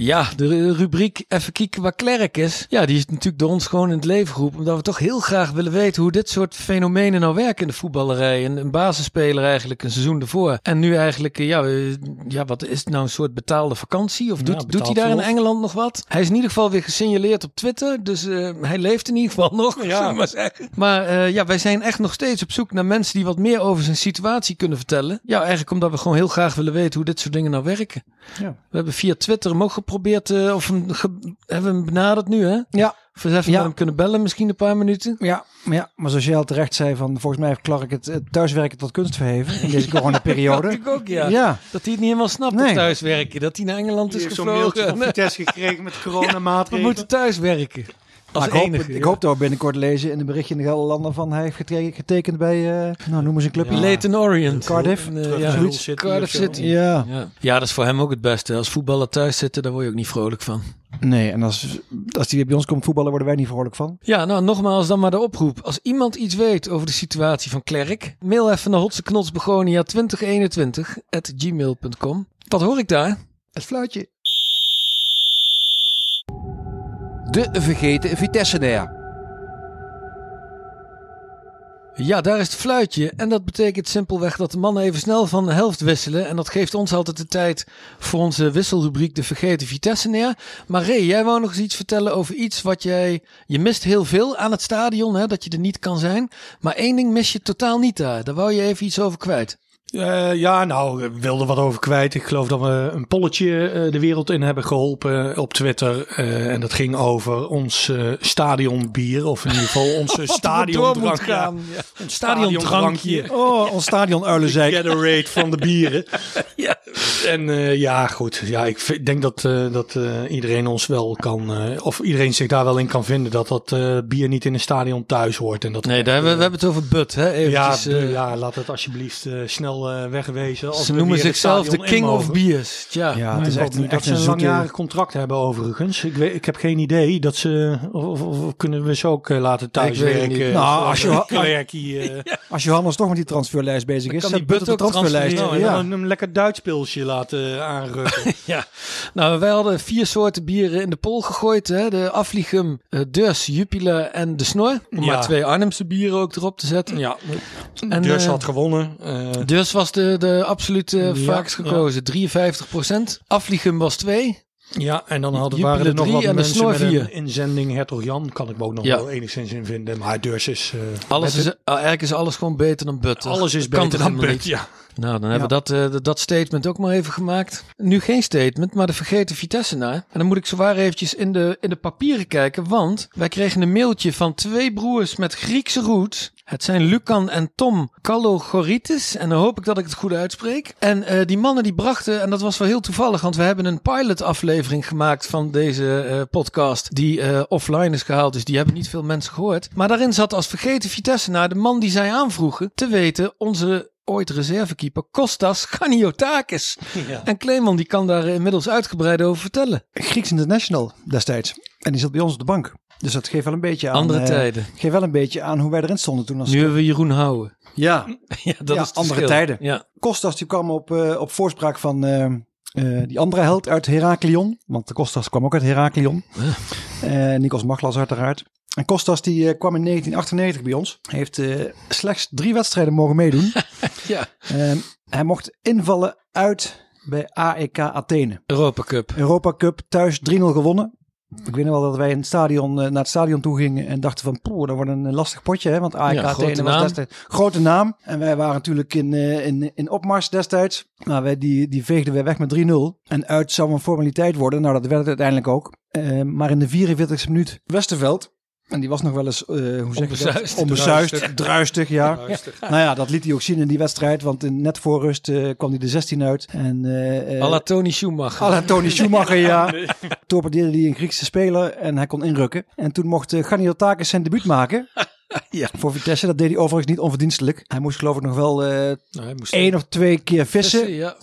S1: Ja, de rubriek even kieken waar klerk is. Ja, die is natuurlijk door ons gewoon in het leven geroepen. Omdat we toch heel graag willen weten hoe dit soort fenomenen nou werken in de voetballerij. Een, een basisspeler eigenlijk een seizoen ervoor. En nu eigenlijk, eh, ja, eh, ja wat is het nou een soort betaalde vakantie? Of doet, doet hij
S9: betaald
S1: daar in
S9: verlof.
S1: Engeland nog wat? Hij is in ieder geval weer gesignaleerd op Twitter. Dus eh, hij leeft in ieder geval nog,
S9: Ja.
S1: zullen we maar zeggen. Maar eh, ja, wij zijn echt nog steeds op zoek naar mensen die wat meer over zijn situatie kunnen vertellen. Ja, eigenlijk omdat we gewoon heel graag willen weten hoe dit soort dingen nou werken. We hebben via Twitter hem ook geprobeerd, eh, of hem ge- hebben we hem benaderd nu, hè?
S8: Ja,
S1: Of we even
S8: Ja.
S1: met hem kunnen bellen, misschien een paar minuten.
S8: ja, ja, maar zoals jij al terecht zei, van, volgens mij heeft Clark het, het thuiswerken tot kunst verheven in deze
S1: Dat
S8: coronaperiode.
S1: ik ook, ja.
S8: *laughs* Ja.
S1: Dat hij het niet helemaal snapt,
S8: Nee.
S1: dat thuiswerken. Dat hij naar Engeland is
S9: Ik heb zo'n
S1: gevlogen.
S9: mailtje van Vitesse
S1: *laughs*
S9: gekregen met
S1: we
S9: coronamaatregelen.
S1: moeten thuiswerken. Als
S8: Maar Nou, ik,
S1: enige.
S8: hoop, ik hoop dat we binnenkort lezen in de berichtje in de Gelderlanden van hij heeft getre- getekend bij, eh, nou noem eens een clubje.
S1: ja. Leighton Orient.
S8: Cardiff.
S1: En, eh,
S9: Terug
S1: ja,
S9: naar Hull
S1: zoiets.
S9: City
S1: Cardiff
S9: of zo.
S1: City.
S8: Ja.
S1: Ja. ja, dat is voor hem ook het beste. Als voetballer thuis zitten, daar word je ook niet vrolijk van.
S8: Nee, en als, als die weer bij ons komt voetballen, worden wij niet vrolijk van.
S1: Ja, nou nogmaals dan maar de oproep. Als iemand iets weet over de situatie van Klerk, mail even naar hotseknotsbegonia 2021 at gmail.com. Wat hoor ik daar?
S8: Het fluitje.
S7: De vergeten Vitesse-nair.
S1: Ja, daar is het fluitje. En dat betekent simpelweg dat de mannen even snel van de helft wisselen. En dat geeft ons altijd de tijd voor onze wisselrubriek De Vergeten Vitesse neer. Maar Ray, jij wou nog eens iets vertellen over iets wat jij... Je mist heel veel aan het stadion, hè, dat je er niet kan zijn. Maar één ding mis je totaal niet daar. Daar wou je even iets over kwijt.
S9: Eh, ja, nou, ik wilde wat over kwijt. Ik geloof dat we een polletje eh, de wereld in hebben geholpen op Twitter. Eh, en dat ging over ons eh, stadionbier. Of in ieder
S1: *laughs*
S9: geval onze stadiondrankje.
S1: Ja.
S9: Ons
S1: Stadiondrankje.
S9: Oh, ons stadionuilenzijk. Gatorade van de bieren. En eh, ja, goed. Ja, ik vind- denk dat, eh, dat eh, iedereen ons wel kan... eh, of iedereen zich daar wel in kan vinden dat dat eh, bier niet in een stadion thuis hoort. En dat
S1: Nee, daar hebben, we hebben het over Bud, hè?
S9: ja,
S1: Eventjes, eh,
S9: eh, ja, laat het alsjeblieft eh, snel eh, wegwezen. Als
S1: Ze
S9: we
S1: noemen
S9: weer het
S1: zichzelf de
S9: stadion in
S1: King of
S9: mogen.
S1: Beers. Tja.
S8: Ja,
S9: Ja,
S8: het is
S9: ik
S8: echt
S9: hoop
S8: een,
S9: niet dat
S8: echt
S9: ze een
S8: een zoete...
S9: langjarig contract hebben overigens. Ik, weet, ik heb geen idee dat ze... Of, of- of kunnen we ze ook eh, laten
S1: weet het niet.
S9: thuiswerken? eh,
S8: Nou, als je-
S9: Klerkie, eh,
S8: Als Johannes toch met die transferlijst bezig is,
S9: kan
S8: zet
S9: die
S8: Butt op de
S1: Butt ook
S8: transferlijst.
S9: nou, en
S8: Ja.
S9: dan een lekker Duits pilsje laten eh, aanrukken.
S1: Ja, nou wij hadden vier soorten bieren in de pol gegooid. Hè? De Afligum, eh, Dus, Jupiler en de Snor. Om
S9: Ja.
S1: maar twee Arnhemse bieren ook erop te zetten.
S9: ja,
S1: En,
S9: dus
S1: eh,
S9: had gewonnen. eh,
S1: Dus was de, de absolute
S9: Ja,
S1: vaakst gekozen, 53%. Afligum was 2.
S9: ja, en dan hadden,
S1: Jupiler
S9: waren er nog
S1: drie
S9: wat
S1: en de
S9: mensen
S1: Snor
S9: met een
S1: vier.
S9: inzending. Hertog Jan kan ik me ook nog
S1: Ja.
S9: wel enigszins in vinden. Maar Deurs is... eh,
S1: Alles is, ah, eigenlijk is alles gewoon beter dan butter.
S9: alles is
S1: Dat kan
S9: beter
S1: toch
S9: dan
S1: helemaal
S9: Put, ja.
S1: niet? Nou, dan hebben we dat, eh, dat- dat statement ook maar even gemaakt. Nu geen statement, maar de vergeten Vitesse na. En dan moet ik zowaar eventjes in de, in de papieren kijken. Want wij kregen een mailtje van twee broers met Griekse roots. Het zijn Lucan en Tom Kalogoritis. En dan hoop ik dat ik het goed uitspreek. En eh, die mannen die brachten, en dat was wel heel toevallig, want we hebben een pilot aflevering gemaakt van deze eh, podcast. Die eh, offline is gehaald, dus die hebben niet veel mensen gehoord. Maar daarin zat als vergeten Vitesse naar de man die zij aanvroegen te weten onze ooit reservekeeper Kostas Ganiotakis. *laughs* En Kleeman die kan daar inmiddels uitgebreid over vertellen.
S8: Grieks international destijds. En die zat bij ons op de bank. Dus dat geeft wel een beetje aan...
S1: Andere
S8: eh,
S1: tijden.
S8: Geeft wel een beetje aan hoe wij erin stonden toen. Als
S1: Nu hebben we Jeroen Houwen.
S8: Ja,
S1: *laughs* Ja, dat
S8: Ja,
S1: is het
S8: andere
S1: verschil.
S8: tijden.
S1: Ja.
S8: Kostas die kwam op, eh, op voorspraak van eh, eh, die andere held uit Heraklion. Want de Kostas kwam ook uit Heraklion. Eh Nikos Maglas uiteraard. En Kostas die eh, kwam in 1998 bij ons. Hij heeft eh, slechts drie wedstrijden mogen meedoen.
S1: ja,
S8: Ehm, hij mocht invallen uit bij AEK Athene.
S1: Europa Cup.
S8: Europa Cup thuis 3-0 gewonnen. Ik weet nog wel dat wij in het stadion, eh, naar het stadion toe gingen en dachten van poeh, dat wordt een lastig potje. Hè? Want AEK
S1: Ja, grote
S8: Athene was
S1: naam.
S8: destijds grote naam. En wij waren natuurlijk in, eh, in, in opmars destijds. Maar wij, die, die veegden we weg met 3-0. En uit zou een formaliteit worden. Nou, dat werd het uiteindelijk ook. Eh, maar in de 44e minuut Westerveld. En die was nog wel eens, eh, hoe zeg je dat?
S1: Onbesuisd.
S8: Onbesuisd, druistig, ja. Nou ja, dat liet hij ook zien in die wedstrijd. Want in, net voor rust eh, kwam hij de 16 uit. En eh, eh,
S1: Alla Tony Schumacher.
S8: Alla Tony Schumacher, ja. Torpedeerde hij een Griekse speler en hij kon inrukken. En toen mocht eh, Ganiotakis zijn debuut maken.
S1: Ja.
S8: Voor Vitesse, dat deed hij overigens niet onverdienstelijk. Hij moest geloof ik nog wel eh
S9: Nou, hij moest-
S8: één of twee keer vissen.
S1: Ja.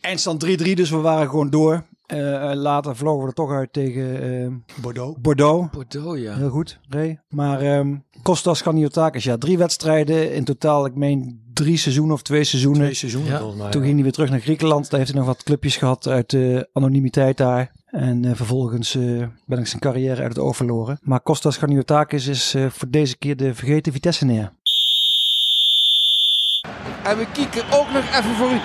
S8: Eindstand 3-3, dus we waren gewoon door. Eh, later vlogen we er toch uit tegen eh,
S9: Bordeaux.
S8: Bordeaux.
S1: Bordeaux, ja.
S8: Heel goed, Ray. Maar ehm Kostas Ganiotakis, ja, drie wedstrijden in totaal. Ik meen drie seizoenen of twee seizoenen.
S9: Twee seizoenen
S1: Ja.
S9: volgens mij.
S8: Toen ging hij weer terug naar Griekenland. Daar heeft hij nog wat clubjes gehad uit de anonimiteit daar. En eh, vervolgens eh, ben ik zijn carrière uit het oog verloren. Maar Kostas Ganiotakis is eh, voor deze keer de vergeten Vitesse neer.
S7: En we kieken ook nog even voor u.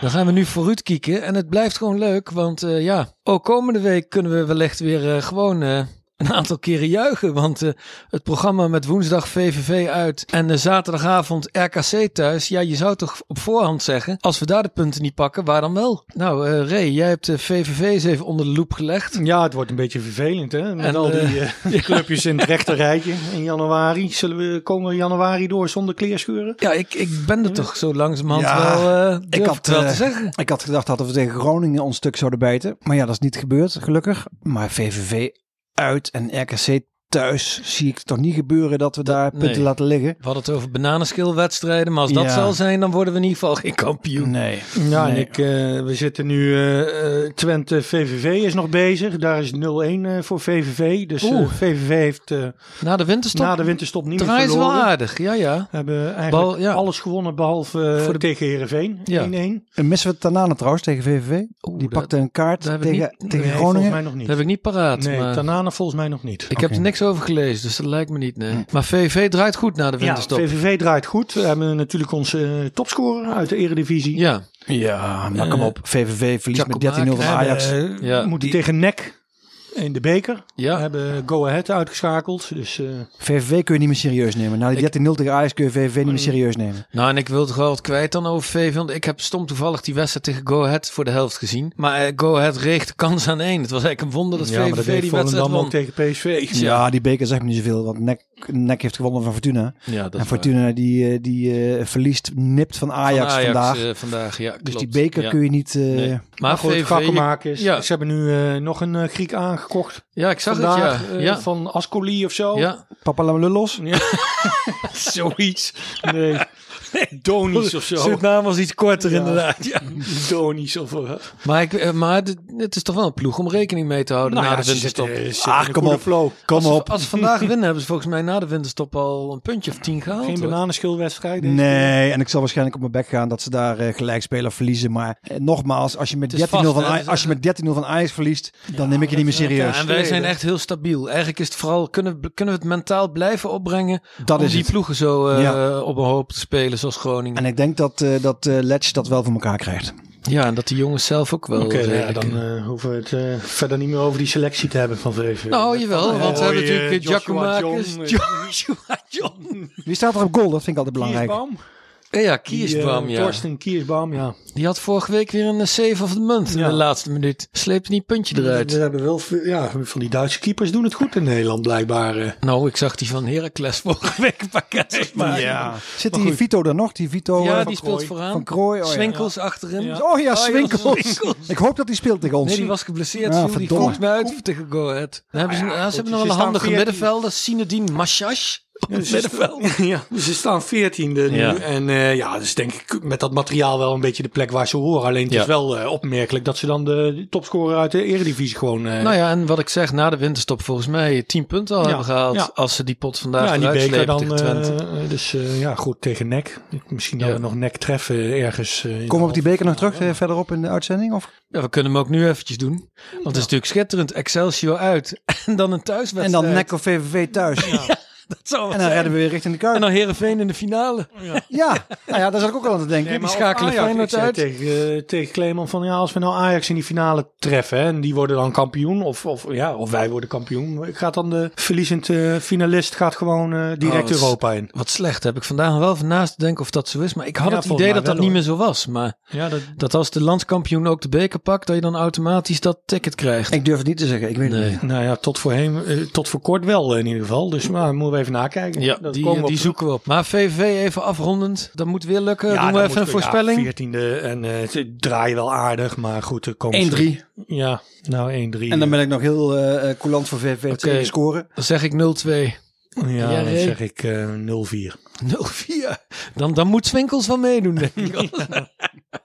S1: Dan gaan we nu vooruit kieken. En het blijft gewoon leuk. Want eh, ja, ook komende week kunnen we wellicht weer eh, gewoon eh, een aantal keren juichen. Want eh, het programma met woensdag VVV uit en eh, zaterdagavond RKC thuis. Ja, je zou toch op voorhand zeggen, als we daar de punten niet pakken, waar dan wel? Nou, eh Ray, jij hebt de VVV eens even onder de loep gelegd.
S9: Ja, het wordt een beetje vervelend hè. Met
S1: En,
S9: al die
S1: eh, *laughs*
S9: eh, clubjes in het rechterrijtje in januari. Zullen we komen we januari door zonder kleerscheuren?
S1: Ja, ik, ik ben er toch zo langzamerhand
S8: Ja,
S1: wel, eh durf ik
S8: had,
S1: het wel
S8: eh,
S1: te zeggen.
S8: Ik had gedacht dat we tegen Groningen ons stuk zouden bijten. Maar ja, dat is niet gebeurd, gelukkig. Maar VVV uit en RKC thuis zie ik het toch niet gebeuren dat we daar punten
S1: nee.
S8: laten liggen.
S1: We hadden het over bananenschilwedstrijden, maar als dat
S8: Ja.
S1: zal zijn, dan worden we in ieder geval geen
S9: Mm.
S1: kampioen.
S8: Nee.
S9: Ja, en
S8: Nee.
S9: ik, eh, we zitten nu, eh, eh, Twente VVV is nog bezig. Daar is 0-1 eh, voor VVV. Dus eh,
S1: Oeh.
S9: VVV heeft eh,
S1: Na de winterstop
S9: na de winterstop niet meer
S1: Draai is wel
S9: verloren.
S1: aardig, ja, ja.
S9: We hebben eigenlijk
S1: Bal- ja.
S9: alles gewonnen behalve eh,
S1: Voor de-
S9: tegen Herenveen 1-1.
S1: Ja.
S8: En missen we Tanane trouwens tegen VVV.
S9: Oh,
S1: Oeh,
S8: Die
S1: dat-
S8: pakte een kaart
S1: dat heb
S8: tegen,
S1: ik niet-
S8: tegen
S9: Nee, volgens
S8: Groningen.
S9: mij nog niet.
S1: Dat heb ik niet paraat.
S9: nee,
S1: maar
S9: Tanane volgens mij nog niet.
S1: ik heb er niks over gelezen, dus dat lijkt me niet. Nee. Maar VV draait goed na de
S9: Mm. Ja,
S1: winterstop. Ja,
S9: VVV draait goed. We hebben natuurlijk onze eh, topscorer uit de eredivisie.
S1: ja.
S8: Ja, maar kom op. VVV verliest met 13-0
S1: Giacomac,
S8: van
S1: hè,
S8: Ajax.
S9: Eh,
S1: Ja.
S9: We moeten tegen NEC in de beker. We
S1: ja.
S9: hebben Go Ahead uitgeschakeld. Dus eh,
S8: VVV kun je niet meer serieus nemen. Na die 13-0 tegen Ajax kun je VVV niet meer serieus nemen.
S1: Nou, en ik wil toch wel wat kwijt dan over VV. Want ik heb stom toevallig die wedstrijd tegen Go Ahead voor de helft gezien. Maar eh, Go Ahead reeg de kans aan één. Het was eigenlijk een wonder dat
S9: ja, maar dat
S1: VVV
S9: deed
S1: die wedstrijd
S9: Volendam
S1: won.
S9: ook tegen PSV.
S8: Ja, die beker zegt me niet zoveel. Want Nek, Nek heeft gewonnen van Fortuna.
S1: Ja, dat is
S8: en
S1: waar.
S8: Fortuna die, eh, die eh, verliest nipt van
S1: Van
S8: Ajax, vandaag.
S1: eh, vandaag, ja,
S8: dus die
S1: klopt.
S8: beker
S1: Ja.
S8: kun je niet... eh,
S1: Nee. Maar
S9: Maar goed,
S1: VVV,
S9: VVV, is.
S1: Ja.
S9: Ze hebben nu eh, nog een eh, Griek aangekocht.
S1: ja, ik zag
S9: vandaag,
S1: het, ja.
S9: eh,
S1: ja.
S9: Van Ascoli of zo.
S1: ja.
S8: Papa Lullos.
S9: *laughs* Zoiets. Nee. nou Donies of zo.
S1: Zijn naam was iets korter inderdaad.
S9: Donies of... eh,
S1: Maar, ik, eh, maar dit- het is toch wel een ploeg om rekening mee te houden
S9: nou
S1: na
S9: ja,
S1: de
S9: ze
S1: winterstop.
S9: zitten- ze zitten in
S8: Ah,
S9: een
S8: kom
S9: goede
S8: op. Kom
S1: als,
S8: op.
S1: Ze, als ze vandaag winnen, hebben ze volgens mij na de winterstop al een puntje of tien gehaald.
S9: Geen
S1: hoor.
S9: bananenschilwedstrijd. deze keer.
S8: Nee, en ik zal waarschijnlijk op mijn bek gaan dat ze daar eh, gelijk spelen of verliezen. Maar eh, nogmaals, als je met 13-0
S1: Het is vast,
S8: van,
S1: hè,
S8: Aj-
S1: dus
S8: als je met 13-0 van Ajax verliest, dan neem ik je niet meer serieus.
S1: Ja, en wij zijn echt heel stabiel. Eigenlijk is het vooral, kunnen, we- kunnen we het mentaal blijven opbrengen
S8: Dat
S1: om
S8: is
S1: die
S8: het.
S1: ploegen zo eh,
S8: Ja.
S1: op een hoop te spelen zoals Groningen.
S8: En ik denk dat, eh dat eh Letch dat wel voor elkaar krijgt.
S1: ja, en dat die jongens zelf ook wel.
S9: Oké, nou ja,
S1: redelijk,
S9: dan
S1: eh,
S9: eh, hoeven we het eh, verder niet meer over die selectie te hebben van VVV.
S1: nou, jawel,
S9: eh,
S1: want we hebben
S9: Roy, eh,
S1: natuurlijk eh,
S9: Joshua
S1: Giacomakis,
S9: John, eh,
S1: *laughs* Joshua John.
S8: Wie staat er op goal? Dat vind ik altijd belangrijk.
S9: Kiersbaum.
S1: Ja, ja, Kiersbaum,
S9: Kiersbaum,
S1: ja.
S9: eh, Torsten Kiersbaum, ja.
S1: Die had vorige week weer een eh, save of the month in
S9: Ja. Eh,
S1: de laatste minuut. Sleepte die puntje eruit.
S9: We hebben wel, veel- ja, van die Duitse keepers doen het goed in Nederland blijkbaar. eh.
S1: Nou, ik zag die van Heracles *laughs* vorige week een paar ketters maken.
S8: Ja. Zit die Vito daar nog? Die Vito
S1: Ja,
S8: eh,
S1: die speelt vooraan.
S8: van Krooi. Oh, ja.
S1: Swinkels achterin.
S8: Ja. Oh ja, Swinkels.
S1: Swinkels.
S8: Ik hoop dat hij speelt tegen ons.
S1: Nee, die was geblesseerd.
S8: Ja,
S1: viel die
S8: verdomme.
S1: volgens mij uit voor tegen Go Ahead. Dan hebben ze,
S9: Ah
S1: ah, ze
S9: ja, goed,
S1: hebben
S9: ze
S1: nog wel een
S9: staan
S1: handige
S9: 14.
S1: middenvelder. Sinedine Mashash. op
S9: Dus
S1: het middenveld.
S9: *laughs* Ja, dus ze staan veertiende nu.
S1: Ja.
S9: En eh, ja, dat is denk ik met dat materiaal wel een beetje de plek waar ze horen. Alleen het
S1: Ja.
S9: is wel eh, opmerkelijk dat ze dan de topscorer uit de eredivisie gewoon... eh,
S1: Nou ja, en wat ik zeg, na de winterstop volgens mij 10 punten al
S9: Ja,
S1: hebben gehaald.
S9: ja.
S1: Als ze die pot
S9: ja,
S1: vandaag
S9: en die
S1: eruit
S9: beker
S1: slepen
S9: dan.
S1: tegen Twente.
S9: eh, dus eh, ja, goed, tegen nek. Misschien dat
S1: Ja.
S9: we nog nek treffen ergens. eh, in
S8: Kom
S9: de
S8: op die beker nog terug eh, verderop in de uitzending? Of?
S1: ja, we kunnen hem ook nu eventjes doen. Want het is natuurlijk schitterend. Excelsior uit. *laughs* En dan een
S8: En
S1: thuiswedstrijd.
S8: dan Nek of VVV thuis.
S1: Dat zou wat
S8: En dan
S1: zijn.
S8: redden we weer richting de
S1: En
S8: kuip.
S1: dan Heerenveen in de finale.
S8: Ja, nou ja, daar zat ik ook al aan te denken.
S9: Nee, maar
S1: die schakelen
S9: ook Ajax.
S1: Feyenoord
S9: Ik zei
S1: uit.
S9: Tegen, eh, tegen Kleeman van ja, als we nou Ajax in die finale treffen hè, en die worden dan kampioen of, of, ja, of wij worden kampioen, gaat dan de verliezend eh, finalist gaat gewoon eh, direct
S1: Oh, dat is-
S9: Europa in.
S1: Wat slecht. Heb ik vandaag wel van naast te denken of dat zo is. Maar ik had
S9: Ja,
S1: het
S9: volgens
S1: idee
S9: mij
S1: dat dat
S9: wel,
S1: niet meer
S9: hoor.
S1: zo was. Maar
S9: Ja, dat,
S1: dat als de landskampioen ook de beker pakt, dat je dan automatisch dat ticket krijgt.
S8: Ik durf het niet te zeggen. Ik weet het
S1: Nee.
S8: niet.
S9: nou ja, tot voor, heen, eh, tot voor kort wel in ieder geval. Dus maar, moeten we even nakijken.
S1: Ja,
S9: Dat
S1: die, eh,
S9: komen we
S1: die
S9: op
S1: zoeken we op. Maar VVV even afrondend. Dat moet weer lukken.
S9: terug. Ja,
S1: Doen we
S9: dan
S1: even een
S9: moeten we-
S1: voorspelling.
S9: Ja, 14e en eh ze draaien wel aardig, maar goed, er komen ze-
S8: 1-3.
S9: Ja, nou 1-3.
S8: En dan ben ik nog heel eh eh, coulant voor VVV
S1: Oké.
S8: tegen scoren.
S1: Dan zeg ik 0-2.
S9: ja,
S1: Ja,
S9: dan
S1: Ray.
S9: zeg ik eh 0-4.
S1: 0-4. Dan, dan moet
S8: *laughs*
S1: Swinkels wel meedoen, denk ik.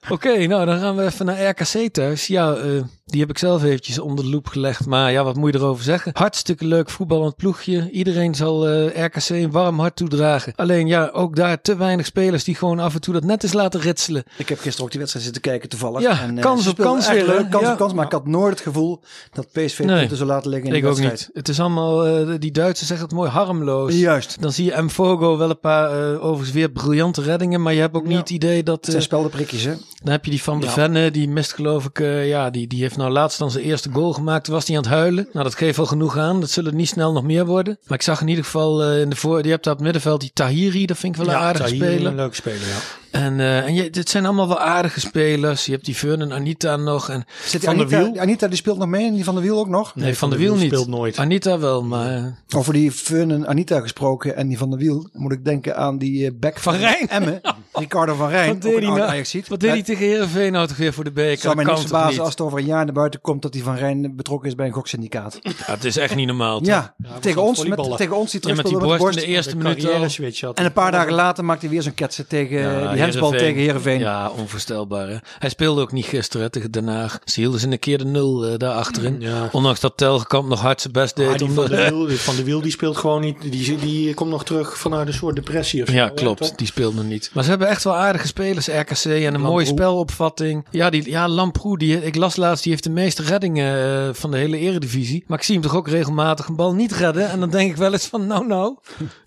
S1: Oké, nou dan gaan we even naar RKC thuis. Ja, eh, Die heb ik zelf eventjes onder de loep gelegd. Maar ja, wat moet je erover zeggen? Hartstikke leuk voetballend ploegje. Iedereen zal eh, RKC een warm hart toedragen. Alleen ja, ook daar te weinig spelers die gewoon af en toe dat net eens laten ritselen.
S8: Ik heb gisteren ook die wedstrijd zitten kijken toevallig.
S1: Ja,
S8: eh,
S1: kans
S8: ze
S1: op
S8: speelden
S1: kans
S8: echt
S1: weer, hè?
S8: Leuk, kans
S1: Ja.
S8: op kans, maar ik had nooit het gevoel dat PSV
S1: Nee.
S8: punten zou laten liggen in
S1: Ik
S8: de
S1: ook
S8: wedstrijd.
S1: niet. Het is allemaal, eh, die Duitsers zeggen het mooi, harmloos.
S8: Juist.
S1: Dan zie je Mfogo wel een paar, eh, overigens weer briljante reddingen. Maar je hebt ook niet het idee dat...
S8: Het
S1: eh,
S8: zijn speldenprikjes, hè?
S1: Dan heb je die Van de Venne, die mist geloof ik, eh, ja, die, die heeft nou laatst dan zijn eerste goal gemaakt. Toen was hij aan het huilen. Nou, dat geeft al genoeg aan. Dat zullen niet snel nog meer worden. Maar ik zag in ieder geval eh, in de voor, die hebt daar op het middenveld die Tahiri, dat vind ik wel een aardige
S9: Tahiri,
S1: speler.
S9: Een leuk speler, ja.
S1: En, eh, en je, dit zijn allemaal wel aardige spelers. Je hebt die Fern en Anita nog. En,
S8: Zit
S9: Van der
S8: Anita,
S9: Wiel?
S8: Anita die speelt nog mee en die van de wiel ook nog.
S1: nee, Van de Wiel niet.
S9: speelt nooit.
S1: Anita wel, maar... eh,
S8: Over die Fun en Anita gesproken en die van de wiel moet ik denken aan die eh, back
S1: Van Rijn. *laughs*
S8: Emmen. Ricardo van Rijn.
S1: wat deed hij nou?
S8: Ajax ziet.
S1: Wat deed hij tegen Heerenveen nou toch weer voor de beker?
S8: zou mij
S1: Dat
S8: niks
S1: kan toch
S8: verbazen
S1: niet?
S8: als het over een jaar naar buiten komt dat die van Rijn betrokken is bij een goksyndicaat.
S1: Ja, het is echt niet normaal. toch?
S8: Ja, tegen,
S9: aan
S8: ons,
S9: het
S8: met,
S9: volleyballen.
S8: tegen ons die
S1: Ja, met
S8: terugspeelde
S1: die
S8: met de
S1: borst,
S8: borst.
S1: in de eerste
S9: Een
S1: minuut
S9: carrière
S1: al.
S9: switch had.
S8: En een paar dagen later maakt hij weer zo'n ketsen tegen eh, die hensbal tegen Heerenveen.
S1: Ja, onvoorstelbaar. Hè? Hij speelde ook niet gisteren hè, tegen Den Haag. Ze hielden ze een keer de nul eh, daar achterin.
S9: Ja.
S1: Ondanks dat Telgekamp nog hard zijn best
S9: Ah,
S1: deed.
S9: die
S1: om
S9: van,
S1: de-
S9: de wiel, die van de Wiel die speelt gewoon niet. Die, die komt nog terug vanuit een soort depressie of zo.
S1: ja,
S9: toch?
S1: klopt. Die speelde niet. Maar ze hebben echt wel aardige spelers, RKC. En een mooie spelopvatting. Ja, die, ja Lamproe, die, ik las laatst, die heeft de meeste reddingen eh, van de hele eredivisie. Maar ik zie hem toch ook regelmatig een bal niet redden. En dan denk ik wel eens van, nou nou,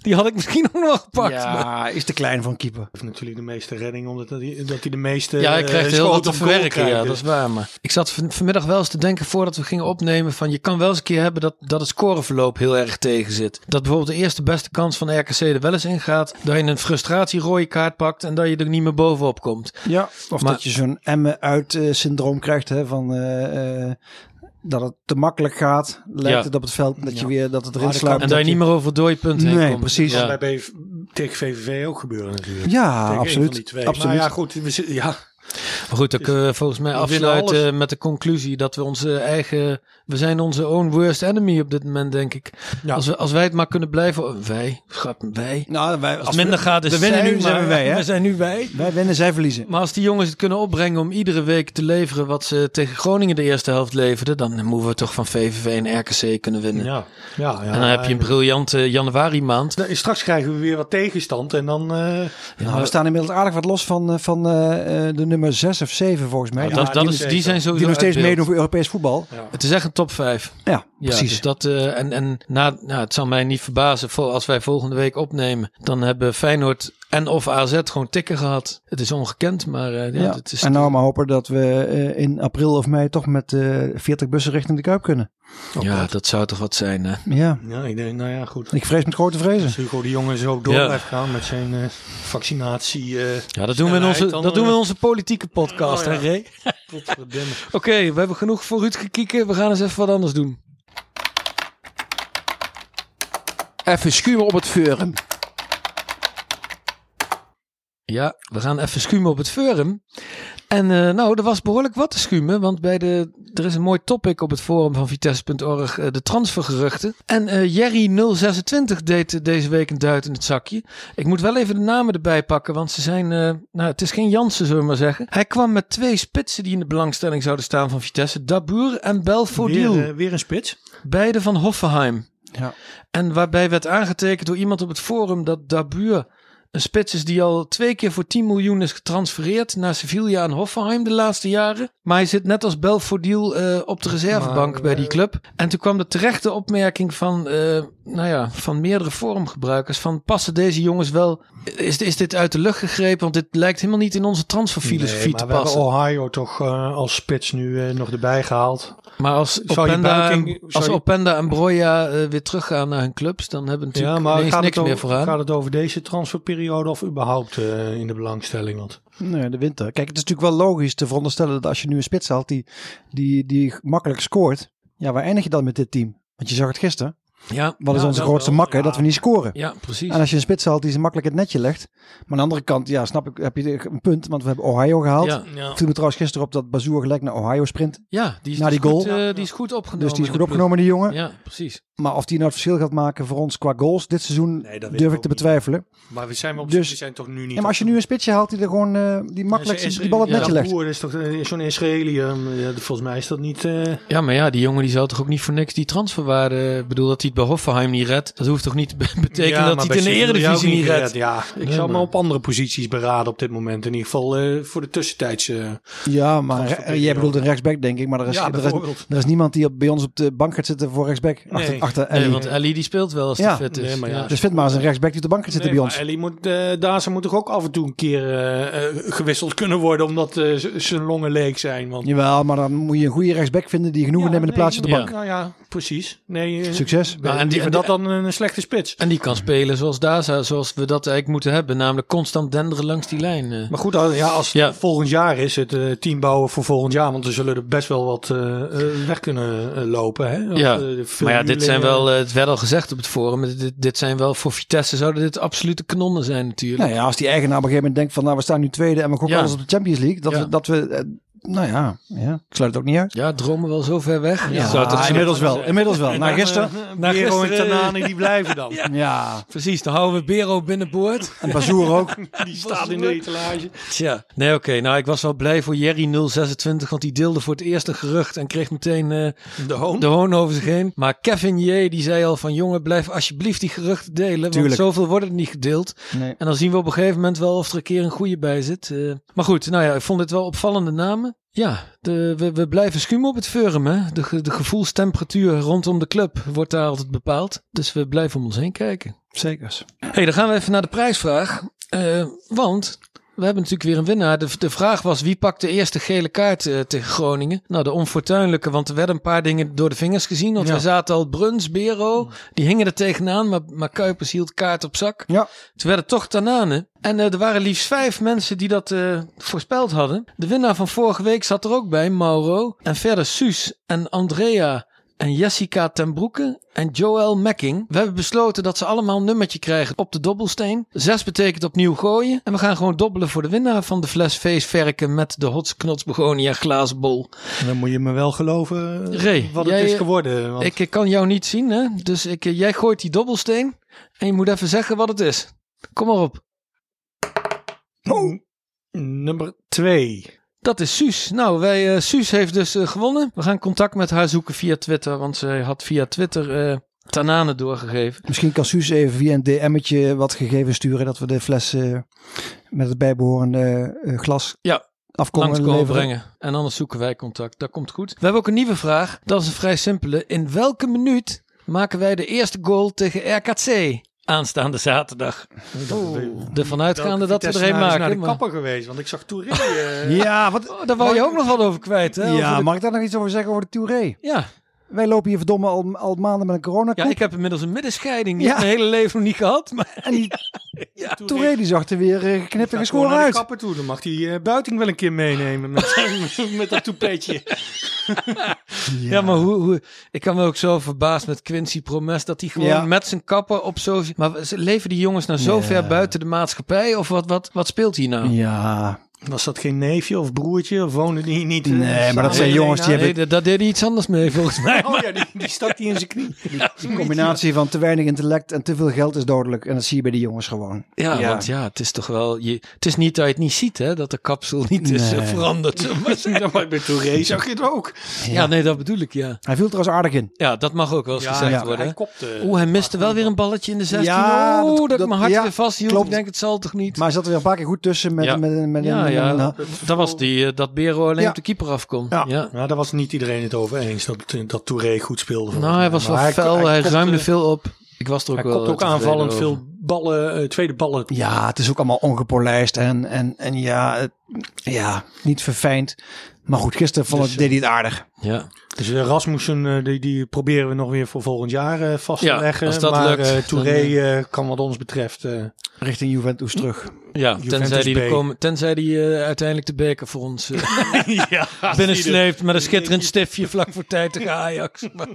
S1: die had ik misschien ook nog wel gepakt. Maar-
S8: Ja, is te klein voor een keeper.
S9: heeft natuurlijk de meeste redding, omdat hij, dat hij de meeste
S1: Ja, ik krijg
S9: eh,
S1: er heel
S9: schoten
S1: wat te
S9: op goal
S1: verwerken.
S9: krijgt.
S1: Ja, dat is waar. Maar ik zat van- vanmiddag wel eens te denken voordat we gingen opnemen. van je kan wel eens een keer hebben dat, dat het scoreverloop heel erg tegen zit. Dat bijvoorbeeld de eerste beste kans van RKC er wel eens in gaat. dat je een frustratie rode kaart pakt. en dat je er niet meer bovenop komt.
S8: Ja, of
S1: Maar-
S8: dat je zo'n Emmen uit eh, syndroom krijgt hè, van eh, eh, dat het te makkelijk gaat, lijkt
S1: Ja.
S8: het op het veld dat je weer dat het erin
S9: Maar dat
S8: sluipt.
S1: en dat je niet meer over het dode punt heen
S8: Nee,
S1: komt.
S8: precies.
S1: Ja.
S9: Kan Dus bij BV tegen VVV ook gebeuren natuurlijk.
S8: Ja,
S9: Tegen een
S8: Ah, absoluut.
S9: van die twee.
S8: absoluut.
S9: Maar ja, goed. we zitten- ja,
S1: Maar goed, dan kunnen we volgens mij
S9: We winnen
S1: afsluiten met de conclusie dat we onze eigen. We zijn onze own worst enemy op dit moment, denk ik.
S9: Ja.
S1: Als, we, als wij het maar kunnen blijven. oh, Wij, schat, wij.
S8: Nou, wij, als
S1: Als het minder
S8: we,
S1: gaat, is
S8: we winnen
S1: zij,
S8: nu, zijn
S1: maar
S8: we wij, hè?
S1: We zijn nu wij.
S8: wij winnen, zij verliezen.
S1: Maar als die jongens het kunnen opbrengen om iedere week te leveren wat ze tegen Groningen de eerste helft leverden, dan moeten we toch van VVV en RKC kunnen winnen.
S9: ja, ja, ja.
S1: En dan heb je een briljante januari maand.
S9: Nou, Straks krijgen we weer wat tegenstand en dan... eh,
S8: Nou, we staan inmiddels aardig wat los van, eh, van eh, eh, de nummer 6 of 7 volgens mij.
S1: dat, dat
S9: die
S1: is,
S9: nog
S1: die
S9: steeds
S1: zijn sowieso
S8: die nog steeds
S1: uit beeld.
S8: meedoen voor Europees voetbal. Ja,
S1: Het is echt een top 5.
S8: precies.
S1: dus dat, eh, en en na, nou, het zal mij niet verbazen vol- als wij volgende week opnemen. Dan hebben Feyenoord en of AZ gewoon tikken gehad. Het is ongekend, maar eh, ja,
S8: Ja.
S1: het is
S8: en nou maar hopen dat we eh, in april of mei toch met eh 40 bussen richting de Kuip kunnen.
S1: ja, dat zou toch wat zijn. Hè?
S8: Ja,
S9: ja, ik denk, nou ja, goed.
S8: ik vrees met grote vrezen.
S9: Als Hugo de Jonge zo door
S1: Ja.
S9: blijft gaan met zijn eh, vaccinatie. eh,
S1: Ja, dat doen, we in
S9: snelheid,
S1: onze,
S9: dan,
S1: dat doen we in
S9: eh,
S1: onze politieke podcast,
S9: Oh, ja.
S1: hè Ray?
S9: potverdomme.
S8: *laughs*
S1: Oké, we hebben genoeg voor Ruud gekieken. We gaan eens even wat anders doen.
S7: Even schuimen op het vuren.
S1: Ja, we gaan even schuimen op het forum. En eh, nou, er was behoorlijk wat te schuimen, want bij de, er is een mooi topic op het forum van Vitesse.org, eh, de transfergeruchten. En eh Jerry026 deed eh, deze week een duit in het zakje. Ik moet wel even de namen erbij pakken, want ze zijn, eh, nou het is geen Jansen zullen we maar zeggen. Hij kwam met twee spitsen die in de belangstelling zouden staan van Vitesse, Dabur en Belfodil.
S9: Weer, eh, weer een spits.
S1: Beide van Hoffenheim.
S8: Ja.
S1: En waarbij werd aangetekend door iemand op het forum dat Dabur een spits is die al twee keer voor 10 miljoen is getransfereerd naar Sevilla en Hoffenheim de laatste jaren. Maar hij zit net als Belfodil eh, op de reservebank bij
S9: eh,
S1: die club. En toen kwam de terechte opmerking van, eh, nou ja, van meerdere forumgebruikers van passen deze jongens wel, is, is dit uit de lucht gegrepen? Want dit lijkt helemaal niet in onze transferfilosofie
S9: Nee,
S1: te
S9: maar we
S1: passen.
S9: hebben Ohio toch eh, als spits nu eh, nog erbij gehaald.
S1: Maar als
S9: je
S1: Openda,
S9: buiking-
S1: en,
S9: zou
S1: als
S9: je-
S1: Openda en Broja eh, weer teruggaan naar hun clubs, dan hebben we natuurlijk ineens
S9: gaat
S1: niks
S9: het
S1: meer
S9: over-
S1: vooraan.
S9: Gaat het over deze transferperiode of überhaupt eh, in de belangstelling? Want
S8: Nee, de winter. Kijk, het is natuurlijk wel logisch te veronderstellen dat als je nu een spits haalt die, die, die makkelijk scoort, ja, waar eindig je dan met dit team? Want je zag het gisteren.
S1: Ja,
S8: Wat is
S1: ja,
S8: onze
S1: dat-
S8: grootste makker? Dat we niet scoren.
S1: Ja, precies.
S8: En als je een spits haalt die ze makkelijk het netje legt. Maar aan de andere kant, ja, snap ik, heb je een punt. Want we hebben Ohio gehaald.
S1: Ja,
S8: Het viel me trouwens gisteren op dat Bazoer gelijk naar Ohio sprint.
S9: Nou,
S1: ja die, is
S8: Na
S1: dus
S8: die goal.
S1: Goed, eh, die is goed opgenomen.
S8: Dus die is
S1: in
S8: goed
S1: de ploeg.
S8: opgenomen, die jongen.
S1: Ja, precies.
S8: Maar of die nou het verschil gaat maken voor ons qua goals dit seizoen,
S9: Nee, dat weet ik
S8: durf ik te
S9: ook niet.
S8: betwijfelen.
S9: Maar we zijn, wel op,
S8: Dus-
S9: we zijn toch nu niet...
S8: En maar als je nu een spitsje haalt die er gewoon eh, die makkelijk
S9: Zo'n
S8: die bal het
S9: Isra-
S8: netje
S9: ja,
S8: legt.
S9: Boer is toch eh, zo'n Israëli. ehm, ja, volgens mij is dat niet... eh,
S1: Ja, maar ja, die jongen die zou toch ook niet voor niks die transferwaarde... eh, Ik bedoel, dat hij het bij Hoffenheim niet redt. Dat hoeft toch niet te be- *laughs* betekenen
S9: ja,
S1: dat
S9: maar
S1: hij het in de
S9: bij Sheffield wil je
S1: eredivisie
S9: ook
S1: niet redt.
S9: Ja, ik
S1: Nee,
S9: zou me
S1: maar-
S9: op andere posities beraden op dit moment. In ieder geval eh, voor de tussentijds... eh,
S8: Ja, maar
S9: Transfer-
S8: eh, jij bedoelt een rechtsback denk ik. Maar er is,
S9: Ja,
S8: er, is,
S9: bijvoorbeeld.
S8: er is niemand die op, bij ons op de bank gaat zitten voor rechtsback. Achter,
S9: Nee.
S8: achter
S1: Nee,
S8: Ellie.
S1: want Ellie die speelt wel als hij
S8: Ja.
S1: fit is.
S9: Nee, maar ja.
S8: dus vind maar eens een rechtsback die op de bank gaat zitten
S9: nee,
S8: bij
S9: maar
S8: ons.
S9: Ellie moet, eh Daza moet toch ook af en toe een keer eh, eh, gewisseld kunnen worden. Omdat eh, z- zijn longen leeg zijn. Want,
S8: Jawel, maar dan moet je een goede rechtsback vinden die genoegen neemt in de plaats op de
S1: ja.
S8: bank.
S9: Nou ja, precies. Nee, eh,
S8: Succes.
S1: Nou, en die-
S9: liever dat dan een slechte spits.
S1: En die kan spelen zoals Daza, zoals we dat eigenlijk moeten hebben. Namelijk constant denderen langs die lijn. eh.
S9: Maar goed, dan- ja, als het
S1: Ja.
S9: volgend jaar is het eh, team bouwen voor volgend jaar. Want er zullen er best wel wat eh, eh, weg kunnen eh, lopen. Hè? Want,
S1: Ja,
S9: eh, veel
S1: maar ja, dit
S9: huurlingen-
S1: zijn wel, eh, het werd al gezegd op het forum, dit, dit zijn wel, voor Vitesse zouden dit absolute kanonnen zijn natuurlijk.
S8: Nou ja, als die eigenaar op een gegeven moment denkt van nou we staan nu tweede en we gokken
S1: Ja.
S8: alles op de Champions League. Dat
S1: Ja.
S8: we, dat we eh, nou ja, ja, ik sluit het ook niet uit.
S1: Ja, dromen wel zo ver weg.
S8: Ja,
S1: Zou toch-
S8: inmiddels wel. Inmiddels wel. Na gisteren.
S9: Na Uh-huh, Bero en Tanani die blijven *laughs* dan.
S8: Ja,
S1: Precies, dan houden we Bero *laughs* binnenboord.
S8: en Bazoer ook.
S9: Die staat in de etalage.
S1: Tja. Nee, oké. nou, ik was wel blij voor Jerry 026, want die deelde voor het eerst een gerucht en kreeg meteen eh,
S9: De hoon.
S1: de hoon over zich heen. Maar Kevin J. die zei al van, jongen, blijf alsjeblieft die geruchten delen,
S8: Tuurlijk.
S1: want zoveel worden er niet gedeeld.
S8: Nee.
S1: En dan zien we op een gegeven moment wel of er een keer een goede bij zit. Eh, maar goed, nou ja, ik vond dit wel opvallende namen. Ja, de, we, we blijven schuimen op het forum. Hè? De, ge- de gevoelstemperatuur rondom de club wordt daar altijd bepaald. Dus we blijven om ons heen kijken.
S8: Zekers.
S1: hey, dan gaan we even naar de prijsvraag. Eh, want we hebben natuurlijk weer een winnaar. De, de vraag was wie pakt de eerste gele kaart eh, tegen Groningen? Nou, de onfortuinlijke, want er werden een paar dingen door de vingers gezien. Want
S9: Ja.
S1: we zaten al Bruns, Bero, die hingen er tegenaan. Maar, maar Kuipers hield kaart op zak.
S8: Ja,
S1: Toen werden toch Tanane. En eh, er waren liefst vijf mensen die dat eh, voorspeld hadden. De winnaar van vorige week zat er ook bij, Mauro. En verder Suus en Andrea en Jessica ten Broeke en Joël Mekking. We hebben besloten dat ze allemaal een nummertje krijgen op de dobbelsteen. Zes betekent opnieuw gooien. En we gaan gewoon dobbelen voor de winnaar van de fles feestverken met de hotsknots begonia glazen bol.
S9: Dan moet je me wel geloven eh,
S1: Ray,
S9: wat het
S1: jij,
S9: is
S1: eh,
S9: geworden. Want
S1: Ik eh, kan jou niet zien, hè? dus ik, eh, jij gooit die dobbelsteen en je moet even zeggen wat het is. Kom maar op.
S9: Oh, nummer twee.
S1: Dat is Suus. Nou, wij, eh, Suus heeft dus eh, gewonnen. We gaan contact met haar zoeken via Twitter, want zij had via Twitter eh Tanane doorgegeven.
S8: misschien kan Suus even via een DM'tje wat gegevens sturen. Dat we de fles eh, met het bijbehorende eh, glas
S1: Ja,
S8: afkomen
S1: Langs komen
S8: leveren.
S1: brengen. En anders zoeken wij contact. Dat komt goed. We hebben ook een nieuwe vraag. Dat is een vrij simpele. In welke minuut maken wij de eerste goal tegen RKC? Aanstaande zaterdag. Ervan uitgaande dat we er een
S9: Vitesse-naar is naar
S1: maken.
S9: de
S1: maar-
S9: kapper geweest, want ik zag *laughs* Touré. eh,
S8: Ja, wat,
S1: Oh, daar wou je ook nog wat over kwijt, hè? Over
S8: ja
S1: de-
S8: mag ik daar nog iets over zeggen over de Touré?
S1: ja.
S8: Wij lopen hier verdomme al, al maanden met een corona
S1: ja, ik heb inmiddels een middenscheiding. Die
S8: Ja.
S1: heb ik mijn hele leven nog niet gehad. Maar
S8: En die Touré die zag er weer eh, geknipt en
S9: Gaat gewoon
S8: geschoren
S9: naar de
S8: uit.
S9: kapper toe. Dan mag die eh, buiting wel een keer meenemen *laughs* met, met dat toepetje.
S1: Ja, maar hoe, hoe... Ik kan me ook zo verbaasd met Quincy Promes... dat hij gewoon
S8: Ja.
S1: met zijn kapper op zo... Maar ze- leven die jongens nou zo
S8: Ja.
S1: ver buiten de maatschappij? Of wat, wat, wat speelt hier nou?
S8: Ja,
S9: Was dat geen neefje of broertje? Of woonde die niet? eh,
S8: Nee, maar dat
S9: samen
S8: zijn
S9: in
S8: jongens
S9: een
S8: die
S9: huis?
S1: Nee, dat daar deed hij iets anders
S8: *laughs*
S1: mee volgens mij.
S9: Oh ja, die, die stak die in zijn knie. *laughs*
S8: Die combinatie van te weinig intellect en te veel geld is dodelijk. En dat zie je bij die jongens gewoon.
S1: Ja,
S9: Ja.
S1: want ja, het is toch wel... Je, het is niet dat je het niet ziet, hè? Dat de kapsel niet is eh,
S8: Nee.
S1: veranderd. zullen we maar zeggen.
S9: Ja, maar bij Touré zag je het ook.
S1: ja, nee, dat bedoel ik, ja.
S8: Hij viel er als aardig in.
S1: Ja, dat mag ook wel eens gezegd
S8: ja.
S1: worden. hè.
S9: kopte.
S1: Oeh, hij miste wel weer een balletje in de 16.
S8: Ja,
S1: Oeh, dat,
S8: dat-
S1: ik mijn hart
S8: ja,
S1: weer vasthield.
S8: klopt.
S1: Ik denk, het zal toch niet?
S8: Maar hij zat er weer een paar keer goed tussen met,
S1: Ja.
S8: met, met, met
S1: ja, ja.
S8: een- een-
S1: dat was die, eh, dat Bero alleen
S8: Ja.
S1: op de keeper afkomt.
S9: Ja.
S1: Ja.
S9: Nou, daar was niet iedereen het over eens dat, dat Touré goed speelde. volgens
S1: Nou, hij
S9: mij.
S1: was wel
S9: Maar
S1: fel. Hij,
S9: kopte-
S1: ruimde veel op. Ik was er ook
S9: Hij
S1: wel
S9: kopt ook
S1: tevreden
S9: aanvallend
S1: over.
S9: veel ballen, eh, tweede ballen.
S8: ja, het is ook allemaal ongepolijst en, en, en ja, het- ja, niet verfijnd. Maar goed, gisteren vond ik, deed hij het aardig.
S1: Ja.
S9: Dus eh, Rasmussen, eh, die, die proberen we nog weer voor volgend jaar eh, vast te
S1: Ja,
S9: leggen.
S1: als dat
S9: maar
S1: lukt,
S9: eh, Touré
S1: dan,
S9: eh, kan wat ons betreft... eh,
S8: Richting Juventus terug.
S1: Ja, tenzij die, er
S9: B.
S1: komen, tenzij die eh, uiteindelijk de beker voor ons eh,
S9: *laughs* ja,
S1: binnensleept met een schitterend stiftje vlak voor tijd tegen Ajax. Maar-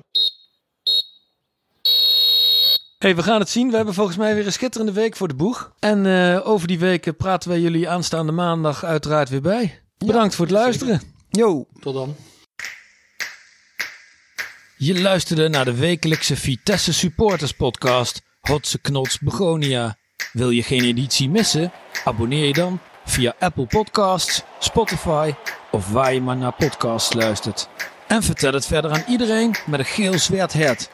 S1: hey, we gaan het zien. We hebben volgens mij weer een schitterende week voor de boeg. En eh, over die weken praten wij jullie aanstaande maandag uiteraard weer bij. Bedankt voor het luisteren.
S8: Yo.
S9: Tot dan.
S1: Je luisterde naar de wekelijkse Vitesse Supporters Podcast Hotse Knots Begonia. Wil je geen editie missen? Abonneer je dan via Apple Podcasts, Spotify of waar je maar naar podcasts luistert. En vertel het verder aan iedereen met een geel zwart hert.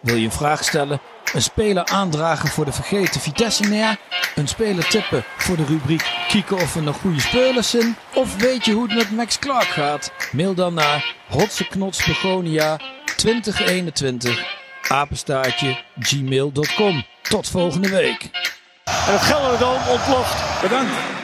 S1: Wil je een vraag stellen? Een speler aandragen voor de vergeten Vitesse-neer? Een speler tippen voor de rubriek kieken of er nog goede spelers zijn? Of weet je hoe het met Max Clark gaat? Mail dan naar hotseknotsbegonia 2021 apenstaartje gmail.com. Tot volgende week.
S5: En het Gelderdoom ontploft. Bedankt.